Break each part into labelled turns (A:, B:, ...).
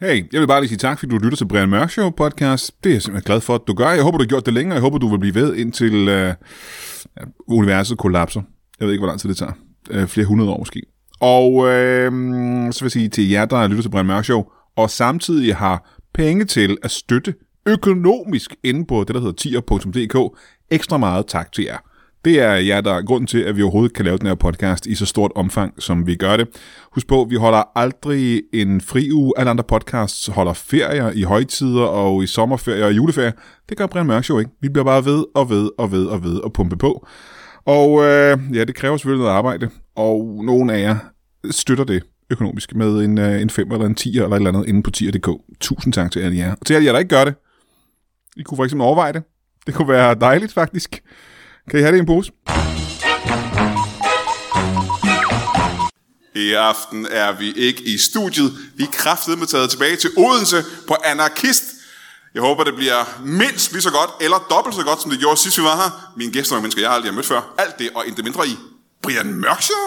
A: Hey, jeg vil bare lige sige tak, fordi du lytter til Brian Mørk Show podcast. Det er jeg simpelthen glad for, at du gør. Jeg håber, du har gjort det længere. Jeg håber, du vil blive ved, indtil øh, universet kollapser. Jeg ved ikke, hvor lang tid det tager. Øh, flere hundrede år måske. Og øh, så vil jeg sige til jer, der lytter til Brian Mørk Show, og samtidig har penge til at støtte økonomisk inde på det, der hedder tier.dk. Ekstra meget tak til jer. Det er jer, der er grunden til, at vi overhovedet kan lave den her podcast i så stort omfang, som vi gør det. Husk på, vi holder aldrig en fri uge. Alle andre podcasts holder ferier i højtider og i sommerferier og juleferier. Det gør Brian Mørk Show ikke. Vi bliver bare ved og ved og ved og ved og pumpe på. Og øh, ja, det kræver selvfølgelig noget arbejde, og nogle af jer støtter det økonomisk med en, øh, en 5 eller en 10 eller et eller andet inde på tier.dk. Tusind tak til alle jer. Og til alle jer, der ikke gør det, I kunne for eksempel overveje det. Det kunne være dejligt faktisk. Kan I have det i en pose? I aften er vi ikke i studiet. Vi er kraftedeme taget tilbage til Odense på Anarkist. Jeg håber, det bliver mindst lige så godt, eller dobbelt så godt, som det gjorde sidst vi var her. Mine gæster er nogle mennesker, jeg aldrig har mødt før. Alt det og intet mindre i Brian Mørk Show.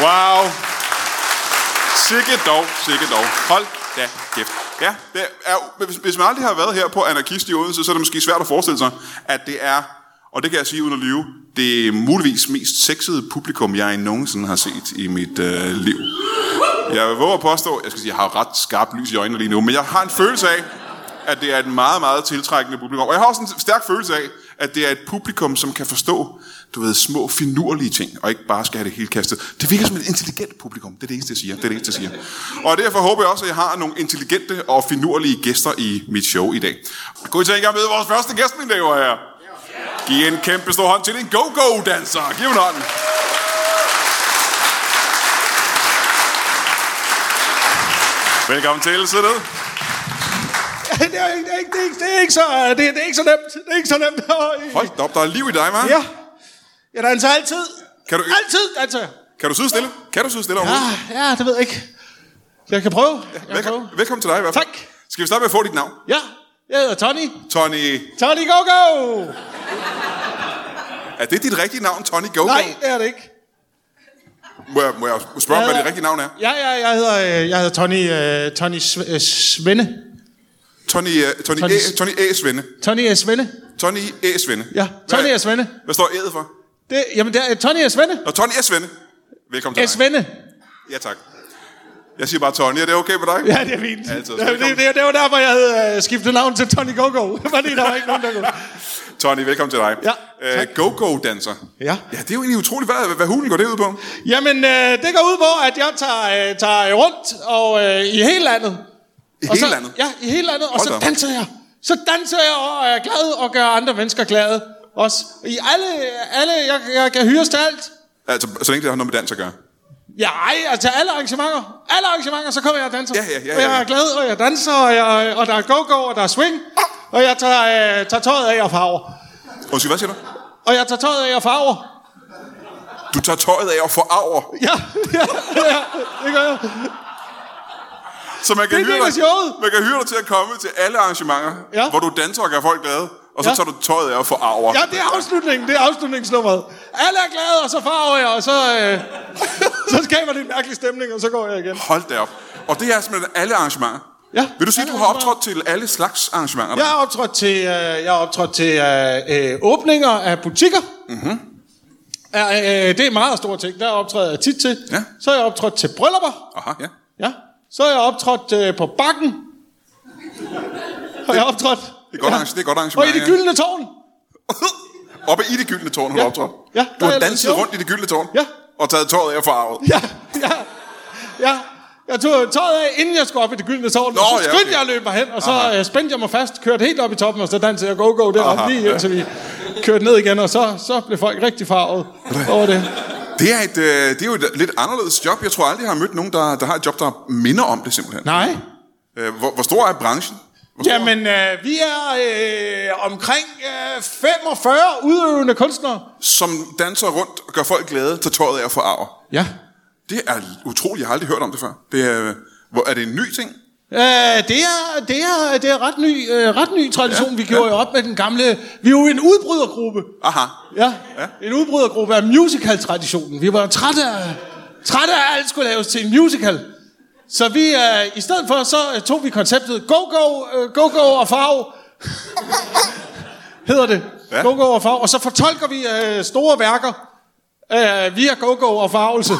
A: Wow. Sikke dog, sikke dog. Hold da kæft. Ja, det er, hvis, hvis man aldrig har været her på Anarkist i Odense, så er det måske svært at forestille sig, at det er, og det kan jeg sige uden at lyve, det er muligvis mest sexede publikum, jeg nogensinde har set i mit øh, liv. Jeg våger at påstå, jeg skal sige, jeg har ret skarpt lys i øjnene lige nu, men jeg har en følelse af, at det er et meget, meget tiltrækkende publikum. Og jeg har også en stærk følelse af, at det er et publikum, som kan forstå, du ved, små finurlige ting, og ikke bare skal have det hele kastet. Det virker som et intelligent publikum. Det er det eneste, jeg siger. Det er det eneste, jeg siger. Og derfor håber jeg også, at jeg har nogle intelligente og finurlige gæster i mit show i dag. Kunne I tænke jer med vores første gæst, mine damer her? Giv en kæmpe stor hånd til en go-go-danser. Giv en hånd. Velkommen til, sid ned.
B: det, er, ikke- det, er, ikke- det, er, ikke- det, er ikke så, det, er, det er ikke så nemt. Det er ikke så nemt. Hold.
A: Hold da op, der er liv i dig, man.
B: Ja. Ja, der er altså altid.
A: Kan du ikke-
B: Altid, altså.
A: Kan du sidde stille? Kan du sidde stille overhovedet?
B: Ah, ja, det ved jeg ikke. Jeg kan prøve. Jeg kan prøve.
A: Velkommen, velkommen til dig i hvert fald.
B: Tak.
A: Skal vi starte med at få dit navn?
B: Ja, jeg hedder Tony.
A: Tony.
B: Tony Go-Go!
A: Er det dit rigtige navn, Tony Gogo?
B: Nej, det er det ikke.
A: Må jeg, må jeg spørge, hvad
B: hedder-
A: dit rigtige navn er?
B: Ja, ja, jeg hedder, øh, jeg hedder Tony, øh, Tony Sv- øh, Svende.
A: Tony, uh, Tony, Tony...
B: Tony-
A: Æ, Tony A. Svende.
B: Tony er Svende.
A: Tony A. Svende.
B: Ja, Tony
A: Hvad-
B: er Svende.
A: Hvad står A'et for?
B: Det, jamen, det er, Tony er Svende.
A: Nå, Tony S. Svende. Velkommen til
B: Er
A: dig.
B: Svende.
A: Ja, tak. Jeg siger bare Tony. Er det okay med dig?
B: Ja, det er fint.
A: Altid.
B: det, det, det, det var derfor, jeg havde øh, skiftet navn til Tony Go-Go. Fordi der var ikke nogen, der kunne.
A: Tony, velkommen til dig.
B: Ja,
A: Øh, Go-go-danser.
B: Ja.
A: Ja, det er jo egentlig utroligt. Hvad, hvad hulen går det ud på?
B: Jamen, øh, det går ud på, at jeg tager, øh, tager rundt og, øh, i hele landet.
A: I
B: og
A: hele
B: så,
A: landet?
B: Ja, i hele landet. Og
A: Hold da
B: så
A: op.
B: danser jeg. Så danser jeg og er glad og gør andre mennesker glade. Også i alle, alle jeg, jeg kan hyres til alt.
A: Altså, så længe det har noget med dans at gøre.
B: Ja, ej, og til alle arrangementer. Alle arrangementer, så kommer jeg og danser.
A: Ja, ja, ja,
B: og
A: ja, ja.
B: jeg er glad, og jeg danser, og, jeg, og der er go-go, og der er swing. Og jeg tager, øh, tager tøjet af og farver.
A: Undskyld, hvad siger du?
B: Og jeg tager tøjet af og farver.
A: Du tager tøjet af og får arver,
B: Ja, ja, ja, det gør jeg.
A: så man kan,
B: Det er
A: hyre
B: det,
A: dig,
B: der er sjovt.
A: man kan hyre dig til at komme til alle arrangementer,
B: Ja.
A: hvor du danser og gør folk glade, og så ja.
B: Ja.
A: tager du tøjet af og får arver.
B: Ja, det er afslutningen. Det er afslutningsnummeret. Alle er glade, og så farver jeg, og så, øh, så skaber det en mærkelig stemning, og så går jeg igen.
A: Hold da op. Og det er simpelthen alle arrangementer.
B: Ja,
A: Vil du sige, at
B: alle
A: du har
B: arrangementer.
A: optrådt til alle slags arrangementer?
B: Jeg er optrådt til, øh, jeg er optrådt til øh, øh, åbninger af butikker. Mm-hmm. Ja, øh, det er en meget stor ting. Der optræder jeg tit til.
A: Ja.
B: Så er jeg optrådt til bryllupper.
A: Aha, ja.
B: Ja. Så er jeg optrådt øh, på bakken. Har jeg optrådt.
A: Det er godt, ja. det er godt
B: Og i
A: arrangement.
B: det gyldne tårn.
A: ja. Oppe i det gyldne tårn har du
B: Ja.
A: optrådt.
B: Ja,
A: Du
B: der
A: har
B: er jeg
A: danset
B: lavet show.
A: rundt i det gyldne tårn.
B: Ja.
A: Og taget tøjet af og farvet.
B: Ja, ja, ja. Jeg tog tøjet af, inden jeg skulle op i det gyldne tårn. Nå, så
A: ja,
B: skyndte ja,
A: okay.
B: okay. jeg at løbe mig hen, og så
A: Aha.
B: Aha. spændte jeg mig fast, kørte helt op i toppen, og så dansede jeg go-go
A: Aha,
B: deroppe lige indtil vi kørte ned igen, og så, så blev folk rigtig farvet over det.
A: Det er, et, øh, det er jo et lidt anderledes job. Jeg tror aldrig, jeg har mødt nogen, der, der har et job, der minder om det simpelthen.
B: Nej.
A: Øh, hvor, hvor stor er branchen? Hvor stor-
B: Jamen, øh, vi er øh, omkring øh, 45 udøvende kunstnere.
A: Som danser rundt og gør folk glade, tager tøjet af og får arver.
B: Ja.
A: Det er utroligt, jeg har aldrig hørt om det før. Det er, øh, hvor, er det en ny ting?
B: Øh, det er, det er, det er ret ny, øh, ret ny tradition, ja, vi gjorde ja. op med den gamle... Vi er jo en udbrydergruppe.
A: Aha.
B: Ja, ja. en udbrydergruppe af musical-traditionen. Vi var trætte af, trætte af, at alt skulle laves til en musical. Så vi, øh, i stedet for, så øh, tog vi konceptet go-go, øh, go-go og farv, hedder det.
A: Ja.
B: Ja. Go-go og farv. Og så fortolker vi øh, store værker øh, via go-go og farvelse.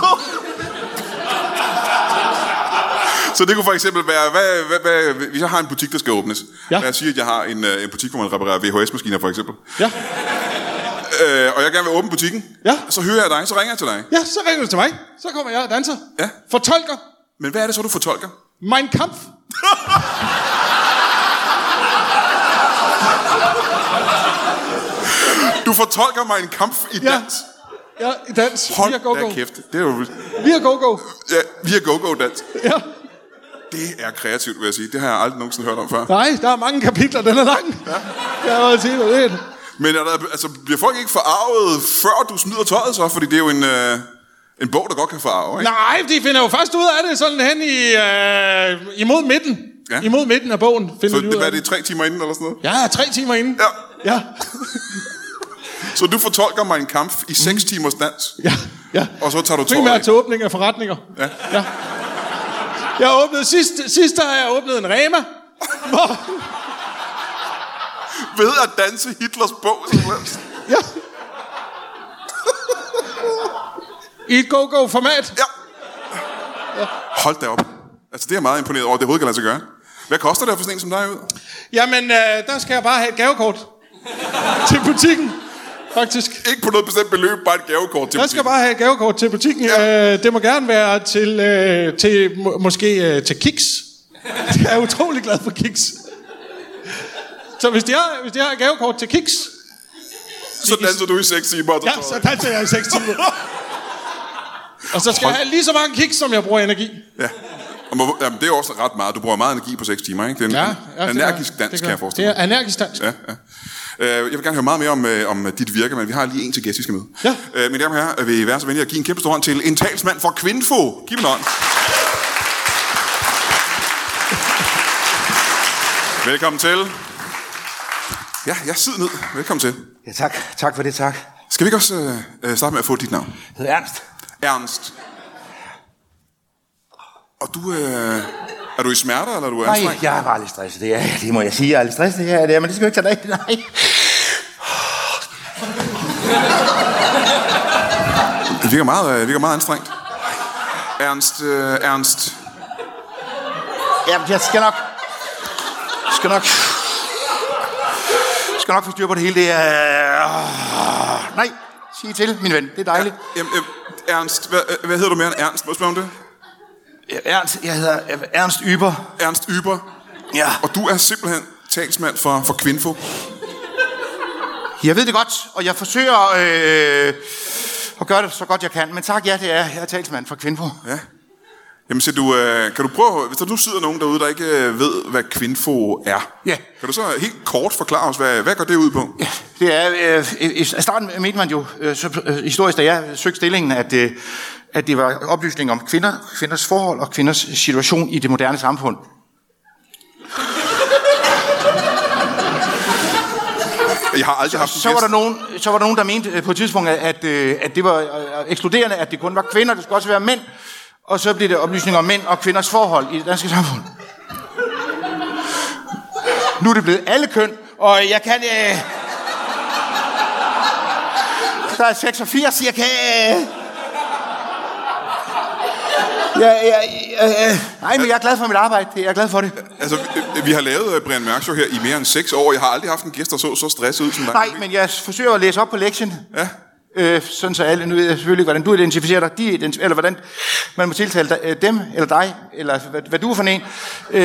A: Så det kunne for eksempel være, hvad, hvad, hvad, hvis jeg har en butik, der skal åbnes.
B: Ja.
A: Lad os sige, at jeg har en, øh, en butik, hvor man reparerer VHS-maskiner for eksempel.
B: ja.
A: Øh, og jeg gerne vil åbne butikken.
B: Ja.
A: Så hører jeg dig, så ringer jeg til dig.
B: ja, så ringer du til mig. Så kommer jeg og danser.
A: Ja.
B: Fortolker.
A: Men hvad er det så, du fortolker?
B: Mein Kampf.
A: Du fortolker mig en kamp i
B: Ja.
A: dans.
B: Ja, i dans.
A: Hold
B: via go-go.
A: da kæft. Det er jo...
B: Via go-go.
A: Ja, via go-go-dans.
B: Ja.
A: Det er kreativt, vil jeg sige. Det har jeg aldrig nogensinde hørt om før.
B: Nej, der er mange kapitler, den er lang. Ja. Jeg har allerede set det.
A: Men er der, altså, bliver folk ikke forarvet, før du smider tøjet så? Fordi det er jo en, øh, en bog, der godt kan forarve, ikke?
B: Nej, de finder jo først ud af det sådan hen i, øh, imod midten.
A: Ja.
B: Ja. Imod midten af bogen finder
A: Så
B: de
A: det,
B: ud
A: hvad
B: af
A: er det, tre timer inden eller sådan noget?
B: Ja, tre timer inden.
A: Ja.
B: Ja,
A: Så du fortolker mig en kamp i 6 timers dans,
B: ja, ja.
A: og så tager du tøjet
B: Mm. Primært
A: af.
B: til åbning af forretninger. Ja. ja. Jeg åbnede sidst, sidst der har jeg åbnet en Rema. Hvor,
A: Ved at danse Hitlers bog, simpelthen.
B: ja. I et go-go-format.
A: Ja. Hold da op. Altså, det er jeg meget imponeret over, at det overhovedet kan lade sig gøre. Hvad koster det for sådan en som dig ud?
B: Jamen, øh, der skal jeg bare have et gavekort til butikken, faktisk.
A: Ikke på noget bestemt beløb, bare et gavekort til
B: Jeg skal
A: butikken.
B: bare have et gavekort til butikken. Ja. Øh, det må gerne være til, øh, til må, måske øh, til Kiks. Jeg er utrolig glad for Kiks. Så hvis de har, hvis de har et gavekort til Kiks,
A: Så danser du i 6 timer, og så
B: ja,
A: tøjet
B: så
A: af.
B: danser jeg i 6 timer. Og så skal
A: Hold-
B: jeg have lige så mange kiks, som jeg bruger energi.
A: Ja. Og må, jamen, det er jo også ret meget. Du bruger meget energi på 6 timer, ikke? Det er en ja, energisk
B: det gør-
A: dans,
B: det
A: kan
B: gør-
A: jeg forestille mig.
B: Det er energisk dans.
A: Ja, ja. Øh, Jeg vil gerne høre meget mere om, øh, om dit virke, men vi har lige en til gæst, vi skal møde.
B: Ja.
A: Øh, Mine damer og herrer, vil I være så venlige at give en kæmpe stor hånd til en talsmand for Kvinfo. Giv mig en hånd. Velkommen til. Ja, jeg sidder ned. Velkommen til.
C: Ja, tak. Tak for det, tak.
A: Skal vi ikke også øh, øh, starte med at få dit navn?
C: Jeg hedder Ernst.
A: Ernst. Og du, øh, er du i smerter, eller er du
C: Nej,
A: anstrengt?
C: jeg er bare lidt stresset. Det, er, jeg. det må jeg sige. Jeg er lidt stresset. Ja, det er, men det skal jeg ikke tage dig. Nej.
A: Det virker meget, øh, virker meget anstrengt. Ernst, øh, Ernst.
C: Jamen, jeg skal nok... Skal nok... Skal nok få styr på det hele. Det er... Ah, Nej, sig til, min ven. Det er dejligt.
A: Jamen, øh, Ernst, hvad, øh, hvad hedder du mere end Ernst? Må jeg spørge om det?
C: Ja. Ernst, jeg hedder øh, Ernst Yber.
A: Ernst Yber.
C: Ja.
A: Og du er simpelthen talsmand for, for Kvinfo.
C: Jeg ved det godt, og jeg forsøger øh, at gøre det så godt, jeg kan. Men tak, ja, det er jeg. Jeg er talsmand for Kvinfo.
A: Ja. Jamen, se, du, øh, kan du prøve, hvis der nu sidder nogen derude, der ikke øh, ved, hvad Kvinfo er.
C: Ja.
A: Kan du så helt kort forklare os, hvad, hvad går det ud på? Ja.
C: Det er, øh, i i starten mente man jo øh, så- øh, historisk, da jeg søgte stillingen, at, øh, at det var oplysning om kvinder, kvinders forhold og kvinders situation i det moderne samfund.
A: Jeg har aldrig haft en
C: Så var,
A: gæst.
C: der nogen, så var der nogen, der mente øh, på et tidspunkt, at, øh, at det var øh, ekskluderende, at det kun var kvinder, det skulle også være mænd. Og så blev det oplysning om mænd og kvinders forhold i det danske samfund. Nu er det blevet alle køn, og jeg kan... Øh, der er 86, jeg kan... Øh, Ja, ja, ja, øh, nej, men jeg er glad for mit arbejde. Jeg er glad for det.
A: Altså, vi, vi har lavet øh, Brian Mørk Show her i mere end seks år. Jeg har aldrig haft en gæst, der så så stresset ud som dig.
C: Nej, men jeg forsøger at læse op på lektien.
A: Ja.
C: Øh, sådan så alle, nu ved jeg selvfølgelig ikke, hvordan du identificerer dig, de identif- eller hvordan man må tiltale dig, øh, dem, eller dig, eller hvad, hvad du er for en. Øh,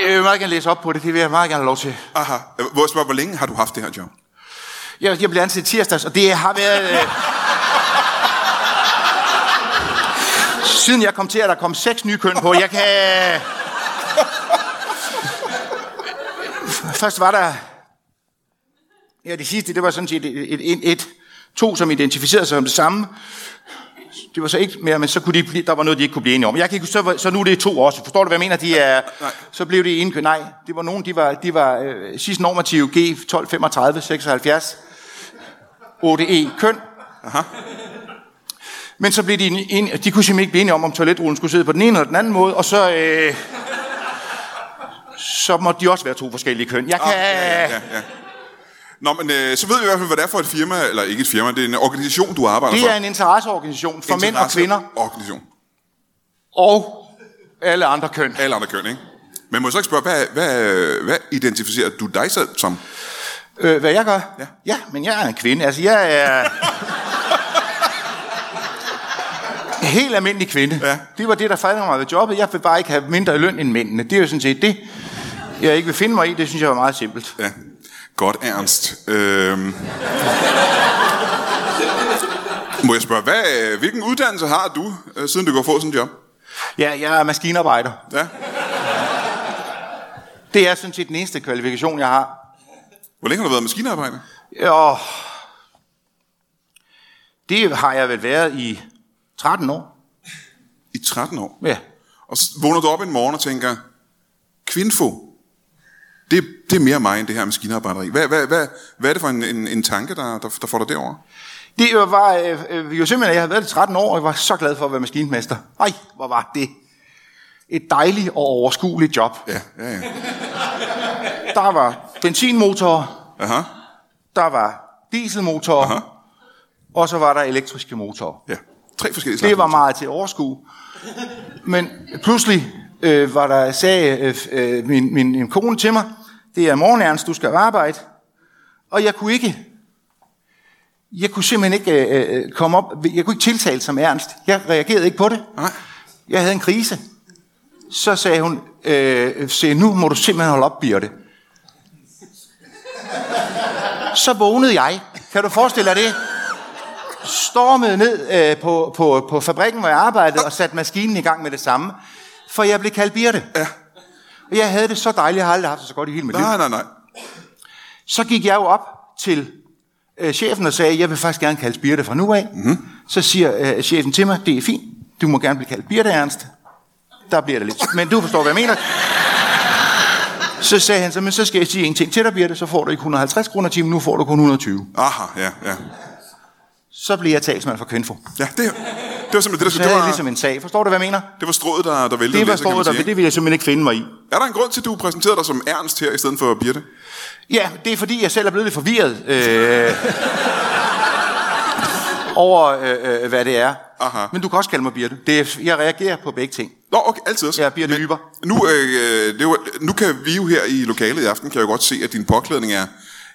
C: jeg vil meget gerne læse op på det, det vil jeg meget gerne have lov til.
A: Aha. Øh, Hvor, jeg spørger, hvor længe har du haft det her job?
C: Jeg, jeg blev ansat i tirsdags, og det har været... Øh, siden jeg kom til, at der kom seks nye køn på. Jeg kan... Først var der... Ja, det sidste, det var sådan set et, et, et, et To, som identificerede sig om det samme. Det var så ikke mere, men så kunne de blive, der var noget, de ikke kunne blive enige om. Jeg kan ikke, huske, så, var- så nu er det to også. Forstår du, hvad jeg mener? De er, så blev det ene Nej, det var nogen, de var, de var øh, sidst normative G 1235 76 8E E, køn. Men så blev de en, en, de kunne simpelthen ikke blive enige om, om toiletrullen skulle sidde på den ene eller den anden måde, og så, øh, så måtte de også være to forskellige køn. Jeg kan...
A: Ah, ja, ja, ja, ja. Nå, men øh, så ved vi i hvert fald, hvad det er for et firma, eller ikke et firma, det er en organisation, du arbejder for.
C: Det er en interesseorganisation for mænd og
A: Interesse-
C: kvinder
A: Organisation.
C: og alle andre køn.
A: Alle andre køn, ikke? Men må jeg så ikke spørge, hvad, hvad, hvad identificerer du dig selv som?
C: Øh, hvad jeg gør? Ja. ja, men jeg er en kvinde. Altså, jeg er... En Helt almindelig kvinde.
A: Ja.
C: Det var det, der fejlede mig ved jobbet. Jeg vil bare ikke have mindre i løn end mændene. Det er jo sådan set det, jeg ikke vil finde mig i. Det synes jeg var meget simpelt.
A: Ja. Godt, Ernst. Øhm. Må jeg spørge, hvad, øh, hvilken uddannelse har du, øh, siden du går få sådan et job?
C: Ja, jeg er maskinarbejder.
A: Ja.
C: Det er sådan set den eneste kvalifikation, jeg har.
A: Hvor længe har du været maskinarbejder?
C: Og det har jeg vel været i 13 år.
A: I 13 år.
C: Ja.
A: Og s- vågner du op en morgen og tænker, kvindfo, det, det er mere mig end det her maskinarbejderi. Hvad, hvad, hvad, hvad er det for en, en, en tanke, der, der, der får dig derover?
C: Det jo var øh, øh, jo simpelthen, at jeg havde været det 13 år, og jeg var så glad for at være maskinmester. Ej, hvor var det et dejligt og overskueligt job.
A: Ja, ja, ja.
C: Der var benzinmotorer,
A: Aha,
C: der var dieselmotorer,
A: Aha.
C: og så var der elektriske motorer.
A: ja. Tre forskellige slags.
C: Det var meget til at overskue. Men pludselig øh, var der, sagde øh, øh, min, min, min kone til mig, det er morgen, Ernst, du skal på arbejde. Og jeg kunne ikke, jeg kunne simpelthen ikke øh, øh, komme op, jeg kunne ikke tiltale som Ernst. Jeg reagerede ikke på det.
A: Nej.
C: Jeg havde en krise. Så sagde hun, øh, se, nu må du simpelthen holde op, Birte. Så vågnede jeg. Kan du forestille dig det? Stormede ned øh, på, på, på fabrikken, hvor jeg arbejdede, og satte maskinen i gang med det samme. For jeg blev kaldt Birte. Ja. Og jeg havde det så dejligt, jeg har aldrig haft det så godt i hele mit liv.
A: Nej, nej, nej.
C: Så gik jeg jo op til øh, chefen og sagde, jeg vil faktisk gerne kaldes Birte fra nu af.
A: Mhm.
C: Mm-hmm. Så siger øh, chefen til mig, det er fint, du må gerne blive kaldt Birte Ernst. Der bliver det lidt, men du forstår, hvad jeg mener. Så sagde han så, men så skal jeg sige en ting til dig, Birte, så får du ikke 150 kroner i timen, nu får du kun 120.
A: Aha, ja, ja.
C: Så bliver jeg talsmand for Kvinfo.
A: Ja, det, det var simpelthen det, der
C: Så
A: skulle...
C: havde
A: Det
C: jeg
A: var,
C: ligesom en sag. Forstår du, hvad jeg mener?
A: det var strået, der, der væltede
C: Det var
A: læsset, kan man
C: stået der,
A: sige,
C: det ville jeg simpelthen ikke finde mig i.
A: ikke? Er der en grund til, at du præsenterede dig som Ernst her, i stedet for Birte?
C: Ja, det er fordi, jeg selv er blevet lidt forvirret øh, over, øh, øh, hvad det er.
A: Aha.
C: Men du kan også kalde mig Birte. Det er, jeg reagerer på begge ting.
A: Nå, okay, altid også.
C: Jeg er Birte
A: Men
C: Hyber.
A: Nu, øh, det er jo, nu kan vi jo her i lokalet i aften, kan jeg jo godt se, at din påklædning er...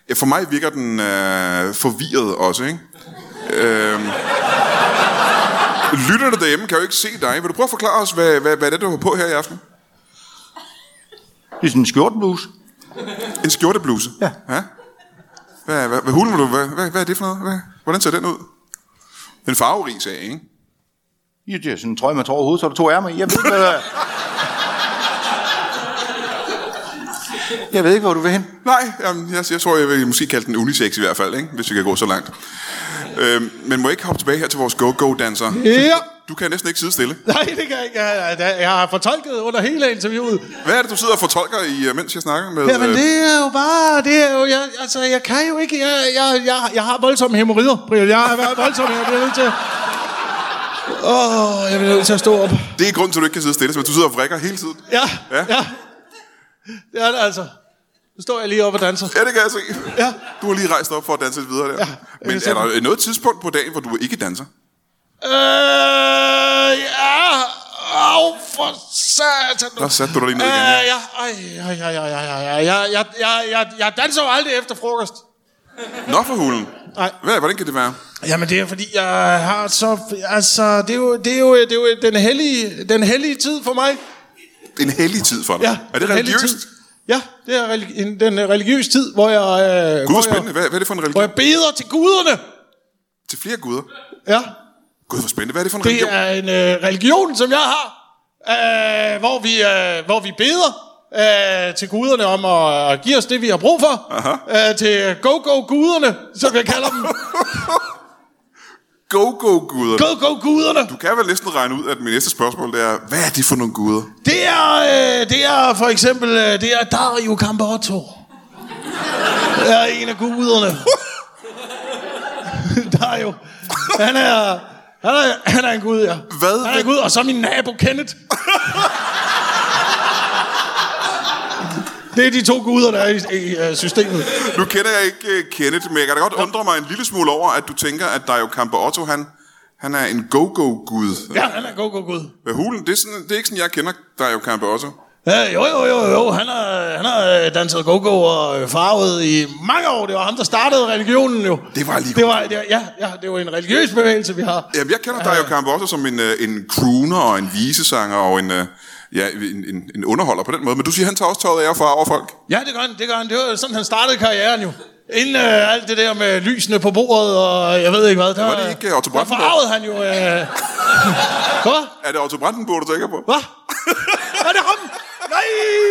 A: Ja, for mig virker den øh, forvirret også, ikke? Øhm, lytter du derhjemme, kan jo ikke se dig. Vil du prøve at forklare os, hvad, hvad, hvad det er, du har på her i aften?
C: Det er sådan en skjortebluse.
A: En skjortebluse?
C: Ja.
A: ja. Hvad, hvad, hvad, hulen, vil du, hvad, hvad, hvad er det for noget? Hvad, hvordan ser den ud? Den farverig sag, ikke?
C: Ja, det er sådan en trøje, man tager over hovedet, så er der to ærmer i. Jeg ved, ikke, hvad... jeg ved ikke, hvor du vil hen.
A: Nej, jamen, jeg, jeg tror, jeg vil måske kalde den unisex i hvert fald, ikke? hvis vi kan gå så langt. Øhm, men må jeg ikke hoppe tilbage her til vores go-go-danser?
B: Ja.
A: Du kan næsten ikke sidde stille.
B: Nej, det kan jeg ikke. Jeg, jeg, jeg har fortolket under hele interviewet.
A: Hvad er det, du sidder og fortolker, i, øh, mens jeg snakker med...
B: Jamen,
A: øh,
B: det er jo bare... Det er jo, jeg, altså, jeg kan jo ikke... Jeg, jeg, jeg, jeg har voldsomme hæmorider, Brian. Jeg har været voldsom Jeg bliver nødt til... Åh, oh, jeg bliver nødt til at stå op.
A: det er grunden til, at du ikke kan sidde stille, så du sidder og vrikker hele tiden.
B: Ja,
A: Ja.
B: ja. ja. Det er det altså. Nu står jeg lige op og danser.
A: Ja, det kan jeg se.
B: Ja.
A: Du har lige rejst op for at danse lidt videre der.
B: jeg
A: men
B: kan se
A: er der noget tidspunkt på dagen, hvor du ikke danser?
B: Øh, ja. Au, for satan.
A: Der satte du dig lige ned igen,
B: Øh,
A: ja.
B: ja. Ej, ej, ej, ej, ej, ej, ej. Jeg, jeg, jeg, jeg, jeg danser jo aldrig efter frokost.
A: Nå for hulen.
B: Nej.
A: Hvad, hvordan kan det være?
B: Jamen, det er fordi, jeg har så... Altså, det er jo, det er jo, det er jo den, hellige, den hellige tid for mig.
A: En hellig tid for dig.
B: Ja,
A: er det
B: den hellige
A: religiøst?
B: Tid. Ja, det er religi- en, den øh, religiøs tid, hvor jeg... Øh,
A: Gud,
B: hvor
A: hvor spændende.
B: Jeg,
A: Hvad, hvad er det for en
B: hvor
A: religion?
B: jeg beder til guderne.
A: Til flere guder.
B: Ja,
A: Gud, hvor spændende. Hvad er det for en
B: Det
A: religion?
B: er en øh, religion, som jeg har, øh, hvor, vi, øh, hvor vi beder øh, til guderne om at, at give os det, vi har brug for. Øh, til go-go-guderne, som jeg kalder dem.
A: Go-go-guder.
B: Go, go, guderne!
A: Du kan vel næsten regne ud, at min næste spørgsmål det er, hvad er det for nogle guder?
B: Det er, øh, det er for eksempel, øh, det er Dario Campotto. Det er en af guderne. Dario. Han er, han er, han er en gud, ja.
A: Hvad
B: Han er en
A: vil-
B: gud, og så min nabo Kenneth. Det er de to guder, der er i, i øh, systemet.
A: Nu kender jeg ikke øh, Kenneth, men jeg kan da godt undre mig en lille smule over, at du tænker, at Dario Campo Otto, han, han er en go-go-gud.
B: Ja, han er god, god gud.
A: Hvad hulen, det er, sådan, det er ikke sådan, jeg kender Dario Campo Otto.
B: Ja, jo, jo, jo, jo. Han har, han har øh, danset go-go og øh, farvet i mange år. Det var ham, der startede religionen jo.
A: Det var lige
B: det var, det, var- ja, ja, det var en religiøs bevægelse, vi har.
A: Jamen, jeg kender Dario Campo Otto som en, øh, en crooner og en visesanger og en, øh, ja, en, en, en underholder på den måde. Men du siger, han tager også tøjet af og farver folk.
B: Ja, det gør han, det gør han. Det var sådan, han startede karrieren jo. Inden øh, alt det der med lysene på bordet, og jeg ved ikke hvad. Der,
A: var det ikke, øh, Otto
B: der
A: Brandenburg?
B: forarvede han jo... Øh... Hvad?
A: Er det Otto Brandenburg, du tænker på?
B: Hvad? Er det ham? Nej,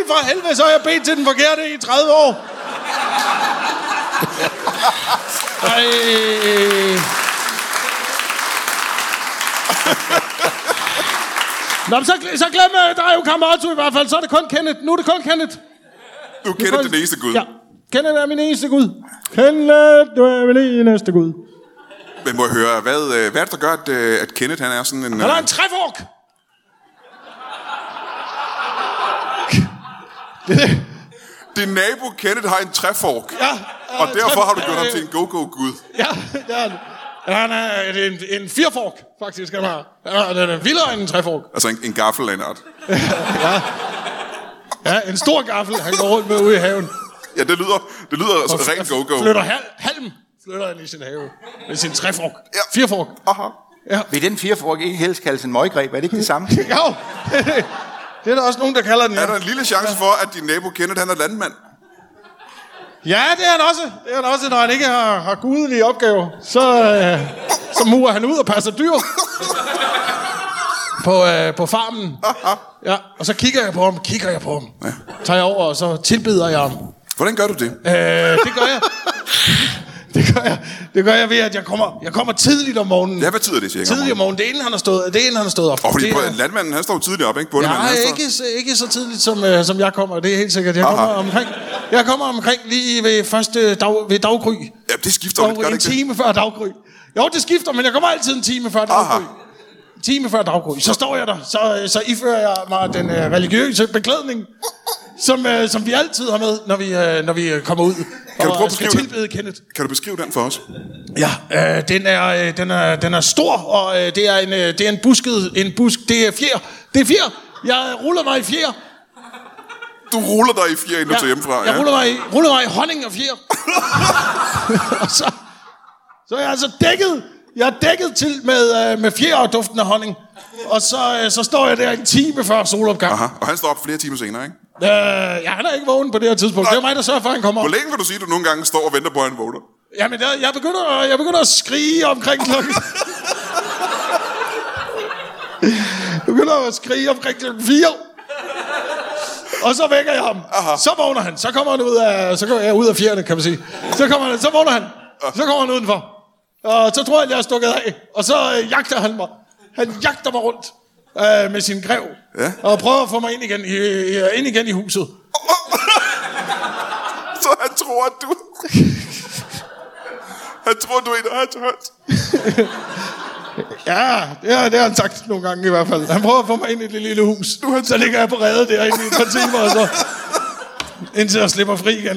B: for helvede, så har jeg bedt til den forkerte i 30 år. Nej. Nå, men så, så glem øh, der er jo Kammeratu i hvert fald. Så er det kun Kenneth. Nu er det kun Kenneth.
A: Du kender den eneste gud.
B: Ja. Kenneth er min eneste gud. Kenneth, du er min eneste gud.
A: Men må jeg høre, hvad, øh, hvad er det, der gør, at, øh, at Kenneth han er sådan en...
B: Han er
A: øh,
B: en træfork.
A: Din nabo Kenneth har en træfork.
B: Ja.
A: Og derfor har du
B: træfork.
A: gjort ham til en go-go-gud.
B: Ja, det er han. Han er en, en, en firfork, faktisk. Han har. Han har- den er vildere end en træfork.
A: Altså en, en gaffel af en art.
B: Ja, en stor gaffel, han går rundt med ude i haven.
A: Ja, det lyder, det lyder altså rent go-go.
B: Flytter hal, halm, flytter han i sin have. Med sin træfork.
A: Ja.
B: Firfork.
A: Aha.
C: Vil den firefork ikke helst kaldes en møggreb? Er det ikke det samme?
B: Ja, jo. det er der også nogen, der kalder den. Ja,
A: Er der en lille chance for, at din nabo Kenneth, han er landmand?
B: ja det er han også. Det er han også, når han ikke har, har gudelige opgaver. Så, øh, så murer han ud og passer dyr. På, øh, på farmen. Ja, og så kigger jeg på ham, kigger jeg på ham. Ja. Tager jeg over, og så tilbeder jeg ham.
A: Hvordan gør du det?
B: Øh, det gør jeg. Det gør jeg. Det gør jeg ved, at jeg kommer, jeg kommer tidligt om morgenen.
A: Ja, hvad tid er det cirka? om
B: Tidligt om morgenen. Det er inden, han har stået, det er inden, han har stået op.
A: morgenen? Åh, fordi
B: det
A: på, landmanden, han står jo tidligt op, ikke? Bundemanden,
B: Nej,
A: han står...
B: ikke, så- ikke så tidligt, som, øh, som jeg kommer. Det er helt sikkert. Jeg kommer,
A: Aha.
B: omkring, jeg kommer omkring lige ved, første dag, ved daggry.
A: Ja, det skifter jo lidt,
B: Og
A: gør det
B: en
A: ikke det?
B: time før daggry. Jo, det skifter, men jeg kommer altid en time før daggry. En time før daggry. Så står jeg der. Så, øh, så ifører jeg mig den øh, religiøse beklædning, som, øh, som vi altid har med, når vi, øh, når vi øh, kommer ud.
A: Kan du
B: og
A: prøve at
B: skal
A: beskrive den?
B: tilbede Kenneth.
A: Kan du beskrive den for os?
B: Ja, øh, den, er, øh, den, er, den er stor, og øh, det, er en, øh, det er en busket, en busk, det er fjer, det er fjer, jeg ruller mig i fjer.
A: Du ruller dig i fire ind ja, til hjemmefra,
B: jeg ruller mig, i, ruller mig i honning og fjer. og så, så er jeg altså dækket, jeg er dækket til med, øh, med fjer og duften af honning. Og så, øh, så står jeg der en time før solopgang.
A: Aha, og han står op flere timer senere, ikke?
B: Øh, ja, han er ikke vågen på det her tidspunkt. Det er mig, der sørger for, at han kommer op.
A: Hvor længe vil du sige, at du nogle gange står og venter på, at han vågner?
B: Jamen, jeg, jeg, begynder, jeg begynder at skrige omkring klokken... jeg begynder at skrige omkring klokken 4. Og så vækker jeg ham. Aha. Så vågner han. Så kommer han ud af, så kommer jeg ud af fjerne, kan man sige. Så, kommer han, så vågner han. Så kommer han udenfor. Og så tror jeg, at jeg er stukket af. Og så øh, jagter han mig. Han jagter mig rundt øh, med sin grev.
A: Ja.
B: Og prøver at få mig ind igen i, i, ind igen i huset.
A: Så han tror, at du... han tror, du er en ørtørt.
B: Ja, det har, det har han sagt nogle gange i hvert fald. Han prøver at få mig ind i det lille hus. Du, han... Så ligger jeg på reddet derinde i et par timer, og så... Indtil jeg slipper fri igen.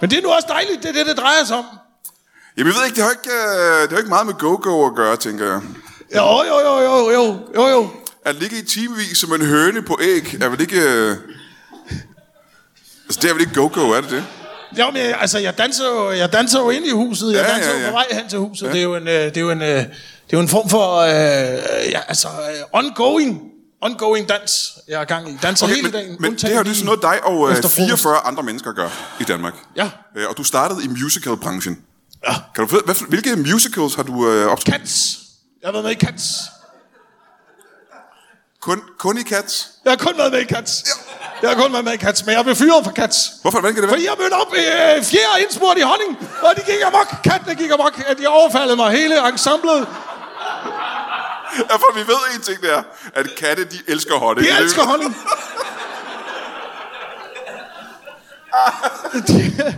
B: Men det er nu også dejligt, det er det, det drejer sig om.
A: Jamen, jeg ved ikke, det har ikke, øh, det har ikke meget med go-go at gøre, tænker jeg.
B: Jo, jo, jo, jo, jo, jo, jo.
A: At ligge i timevis som en høne på æg, er vel ikke... Øh... Altså, det er vel ikke go-go, er det det?
B: Jo, men jeg, altså, jeg danser, jo, jeg danser jo ind i huset. Jeg
A: Ja,
B: danser
A: ja,
B: jo
A: ja.
B: på vej hen til huset. Ja. Det, er jo en, øh, det, er jo en, øh, det er jo en form for øh, ja, altså, øh, ongoing, ongoing dans, jeg er gang i. Danser okay, hele
A: men,
B: dagen.
A: men det
B: undtagen
A: har jo det er
B: lige
A: sådan noget, dig og øh,
B: efter frokost.
A: 44 andre mennesker gør i Danmark.
B: Ja.
A: Øh, og du startede i musicalbranchen. Ja. Kan du, hvad, hvilke musicals har du øh, optaget?
B: Cats. Jeg har været med i Cats.
D: Kun, kun i Cats?
B: Jeg har kun været med i Cats. Jeg har kun været med i Cats, men jeg blev fyret fra Cats.
D: Hvorfor? Hvordan kan det
B: Fordi
D: være?
B: jeg mødte op øh, fjerde indspurgt i honning, og de gik amok. Kattene gik amok, at de overfaldede mig hele ensemblet.
D: Ja, for vi ved en ting, det er, at katte, de elsker honning.
B: De elsker honning. De-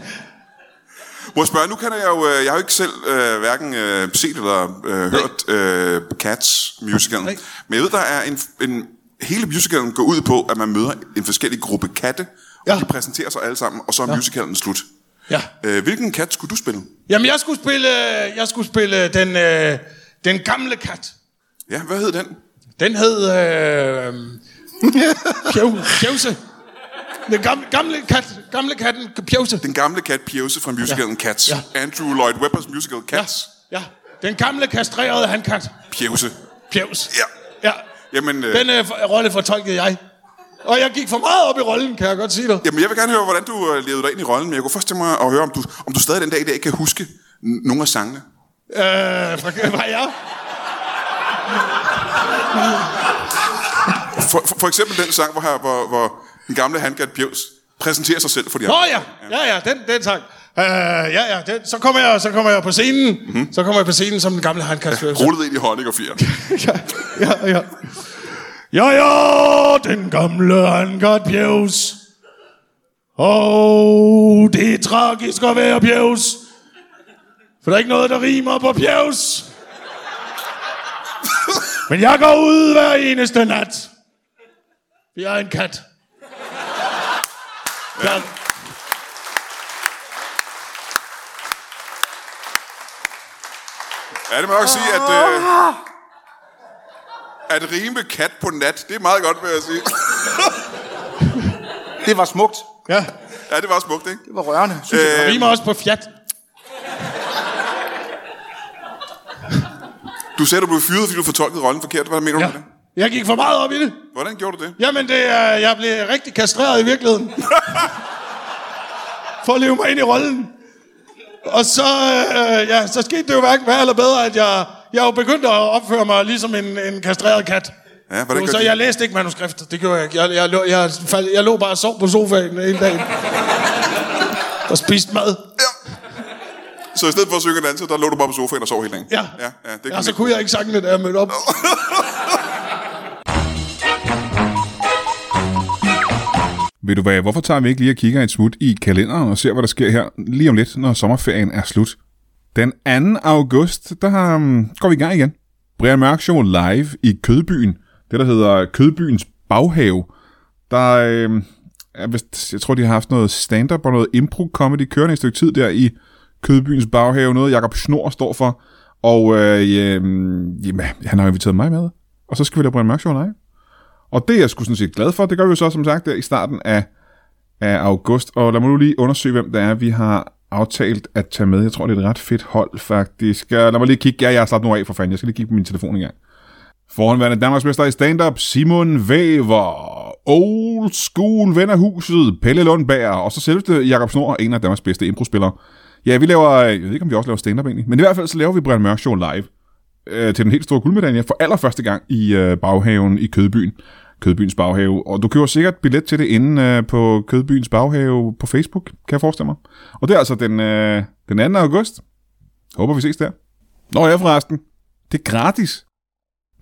D: Må jeg spørge, nu kan jeg jo, øh, jeg har jo ikke selv øh, hverken øh, set eller øh, hørt øh, Cats musicalen,
B: Nej.
D: men jeg ved, der er en, en, hele musicalen går ud på, at man møder en forskellig gruppe katte, ja.
B: Ja.
D: og de præsenterer sig alle sammen, og så er ja. musicalen slut.
B: ja.
D: Øh, hvilken kat skulle du spille?
B: Jamen, jeg skulle spille, øh, jeg skulle spille øh, den, øh, den gamle kat.
D: Ja, hvad hed den?
B: Den hed... Øh, Pjev- Pjevse. Den gamle, gamle, kat, gamle katten Pjevse.
D: Den gamle kat Pjevse fra musicalen ja. Cats. Ja.
B: Ja.
D: Andrew Lloyd Webbers musical
B: Ja,
D: Cats. Ja.
B: ja. Den gamle kastrerede handkat.
D: Pjevse.
B: Pjevs.
D: Ja.
B: Ja.
D: Jamen, øh,
B: Den øh, f- rolle fortolkede jeg. Og jeg gik for meget op i rollen, kan jeg godt sige dig.
D: Jamen, jeg vil gerne høre, hvordan du øh, levede dig ind i rollen, men jeg kunne først tænke mig at høre, om du, om du stadig den dag i dag kan huske n- nogle af sangene.
B: Øh, fra, var jeg?
D: For, for, for eksempel den sang, hvor, her, hvor, hvor den gamle handgat Pjevs præsenterer sig selv for de
B: Nå
D: andre.
B: ja, ja, ja, den, den sang. Øh, ja, ja, den, så, kommer jeg, så kommer jeg på scenen. Mm-hmm. Så kommer jeg på scenen som den gamle handkastfølelse.
D: Rullede ind i honning og fire.
B: ja, ja, ja. Ja, ja, den gamle Angard Pjevs. Og det er tragisk at være Pjevs. For der er ikke noget, der rimer på Pjevs. Men jeg går ud hver eneste nat. Vi er en kat. Ja.
D: Ja, det må jeg nok sige, at... Øh, at rime kat på nat, det er meget godt, vil jeg sige.
C: Det var smukt.
B: ja.
D: Ja, det var smukt, ikke?
C: Det var rørende. Synes
A: Øh,
C: jeg.
B: Det rimer også på fjat.
D: Du sagde, du blev fyret, fordi du fortolkede rollen forkert. Hvad mener du
B: Ja.
D: med det?
B: Jeg gik for meget op i det.
D: Hvordan gjorde du det?
B: Jamen, det er, jeg blev rigtig kastreret i virkeligheden. For at leve mig ind i rollen. Og så, øh, ja, så skete det jo hverken værre eller bedre, at jeg, jeg jo begyndte at opføre mig ligesom en, en kastreret kat.
D: Ja, hvordan
B: Jo,
D: gør
B: så
D: de?
B: jeg læste ikke manuskriptet. Det gjorde jeg ikke. Jeg, jeg, lå, jeg, fald, jeg lå bare og sov på sofaen hele dagen. og spiste mad.
D: Så i stedet for at synge og danse, der lå du bare på sofaen og sov hele dagen?
B: Ja.
D: ja, ja det
B: ja
D: kan
B: så kunne jeg ikke sangene, da jeg mødte op.
A: Ved du hvad, hvorfor tager vi ikke lige og kigger et smut i kalenderen og ser, hvad der sker her lige om lidt, når sommerferien er slut? Den 2. august, der um, går vi i gang igen. Brian Mørk Show live i Kødbyen. Det, der hedder Kødbyens baghave. Der øh, er vist, jeg tror, de har haft noget stand-up og noget impro-comedy kørende et stykke tid der i Kødbyens baghave. Noget, Jakob Snor står for. Og øh, øh, jamen, han har inviteret mig med. Og så skal vi lave Brian Mørk Show live. Og det er jeg sgu sådan set glad for. Det gør vi jo så, som sagt, der i starten af, af august. Og lad mig nu lige undersøge, hvem det er, vi har aftalt at tage med. Jeg tror, det er et ret fedt hold, faktisk. Ja, Lad mig lige kigge. Ja, jeg har slappet nu af, for fanden. Jeg skal lige kigge på min telefon engang. Forhåndværende Danmarksmester i stand-up, Simon Væver, old school ven af huset, Pelle Lundberg, og så selveste Jakob Snor, en af Danmarks bedste improspillere. Ja, vi laver, jeg ved ikke, om vi også laver stand-up egentlig, men i hvert fald så laver vi Brian Mørk Show live øh, til den helt store guldmedalje for allerførste gang i øh, baghaven i Kødbyen. Kødbyens baghave. Og du køber sikkert billet til det inde øh, på Kødbyens baghave på Facebook, kan jeg forestille mig. Og det er altså den, øh, den 2. august. Håber vi ses der. Nå ja, forresten. Det er gratis.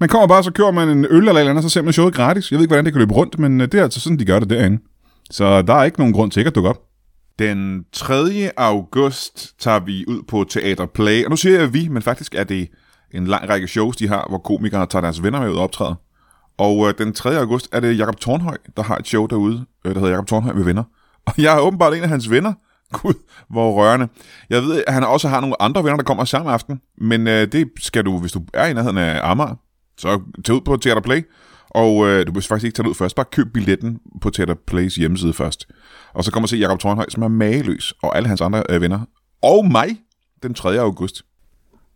A: Man kommer bare, så kører man en øl eller et eller andet, så ser man showet gratis. Jeg ved ikke, hvordan det kan løbe rundt, men øh, det er altså sådan, de gør det derinde. Så der er ikke nogen grund til ikke at dukke op. Den 3. august tager vi ud på Teater Play, og nu siger jeg vi, men faktisk er det en lang række shows, de har, hvor komikere tager deres venner med ud og optræder. Og øh, den 3. august er det Jakob Tornhøj, der har et show derude, øh, der hedder Jakob Tornhøj med venner. Og jeg er åbenbart en af hans venner. Gud, hvor rørende. Jeg ved, at han også har nogle andre venner, der kommer samme aften. Men øh, det skal du, hvis du er i nærheden af Amager, så tag ud på Theater Play. Og øh, du behøver faktisk ikke tage det ud først. Bare køb billetten på Theater Plays hjemmeside først. Og så kommer og se Jakob Tornhøj, som er mageløs, og alle hans andre øh, venner. Og mig, den 3. august.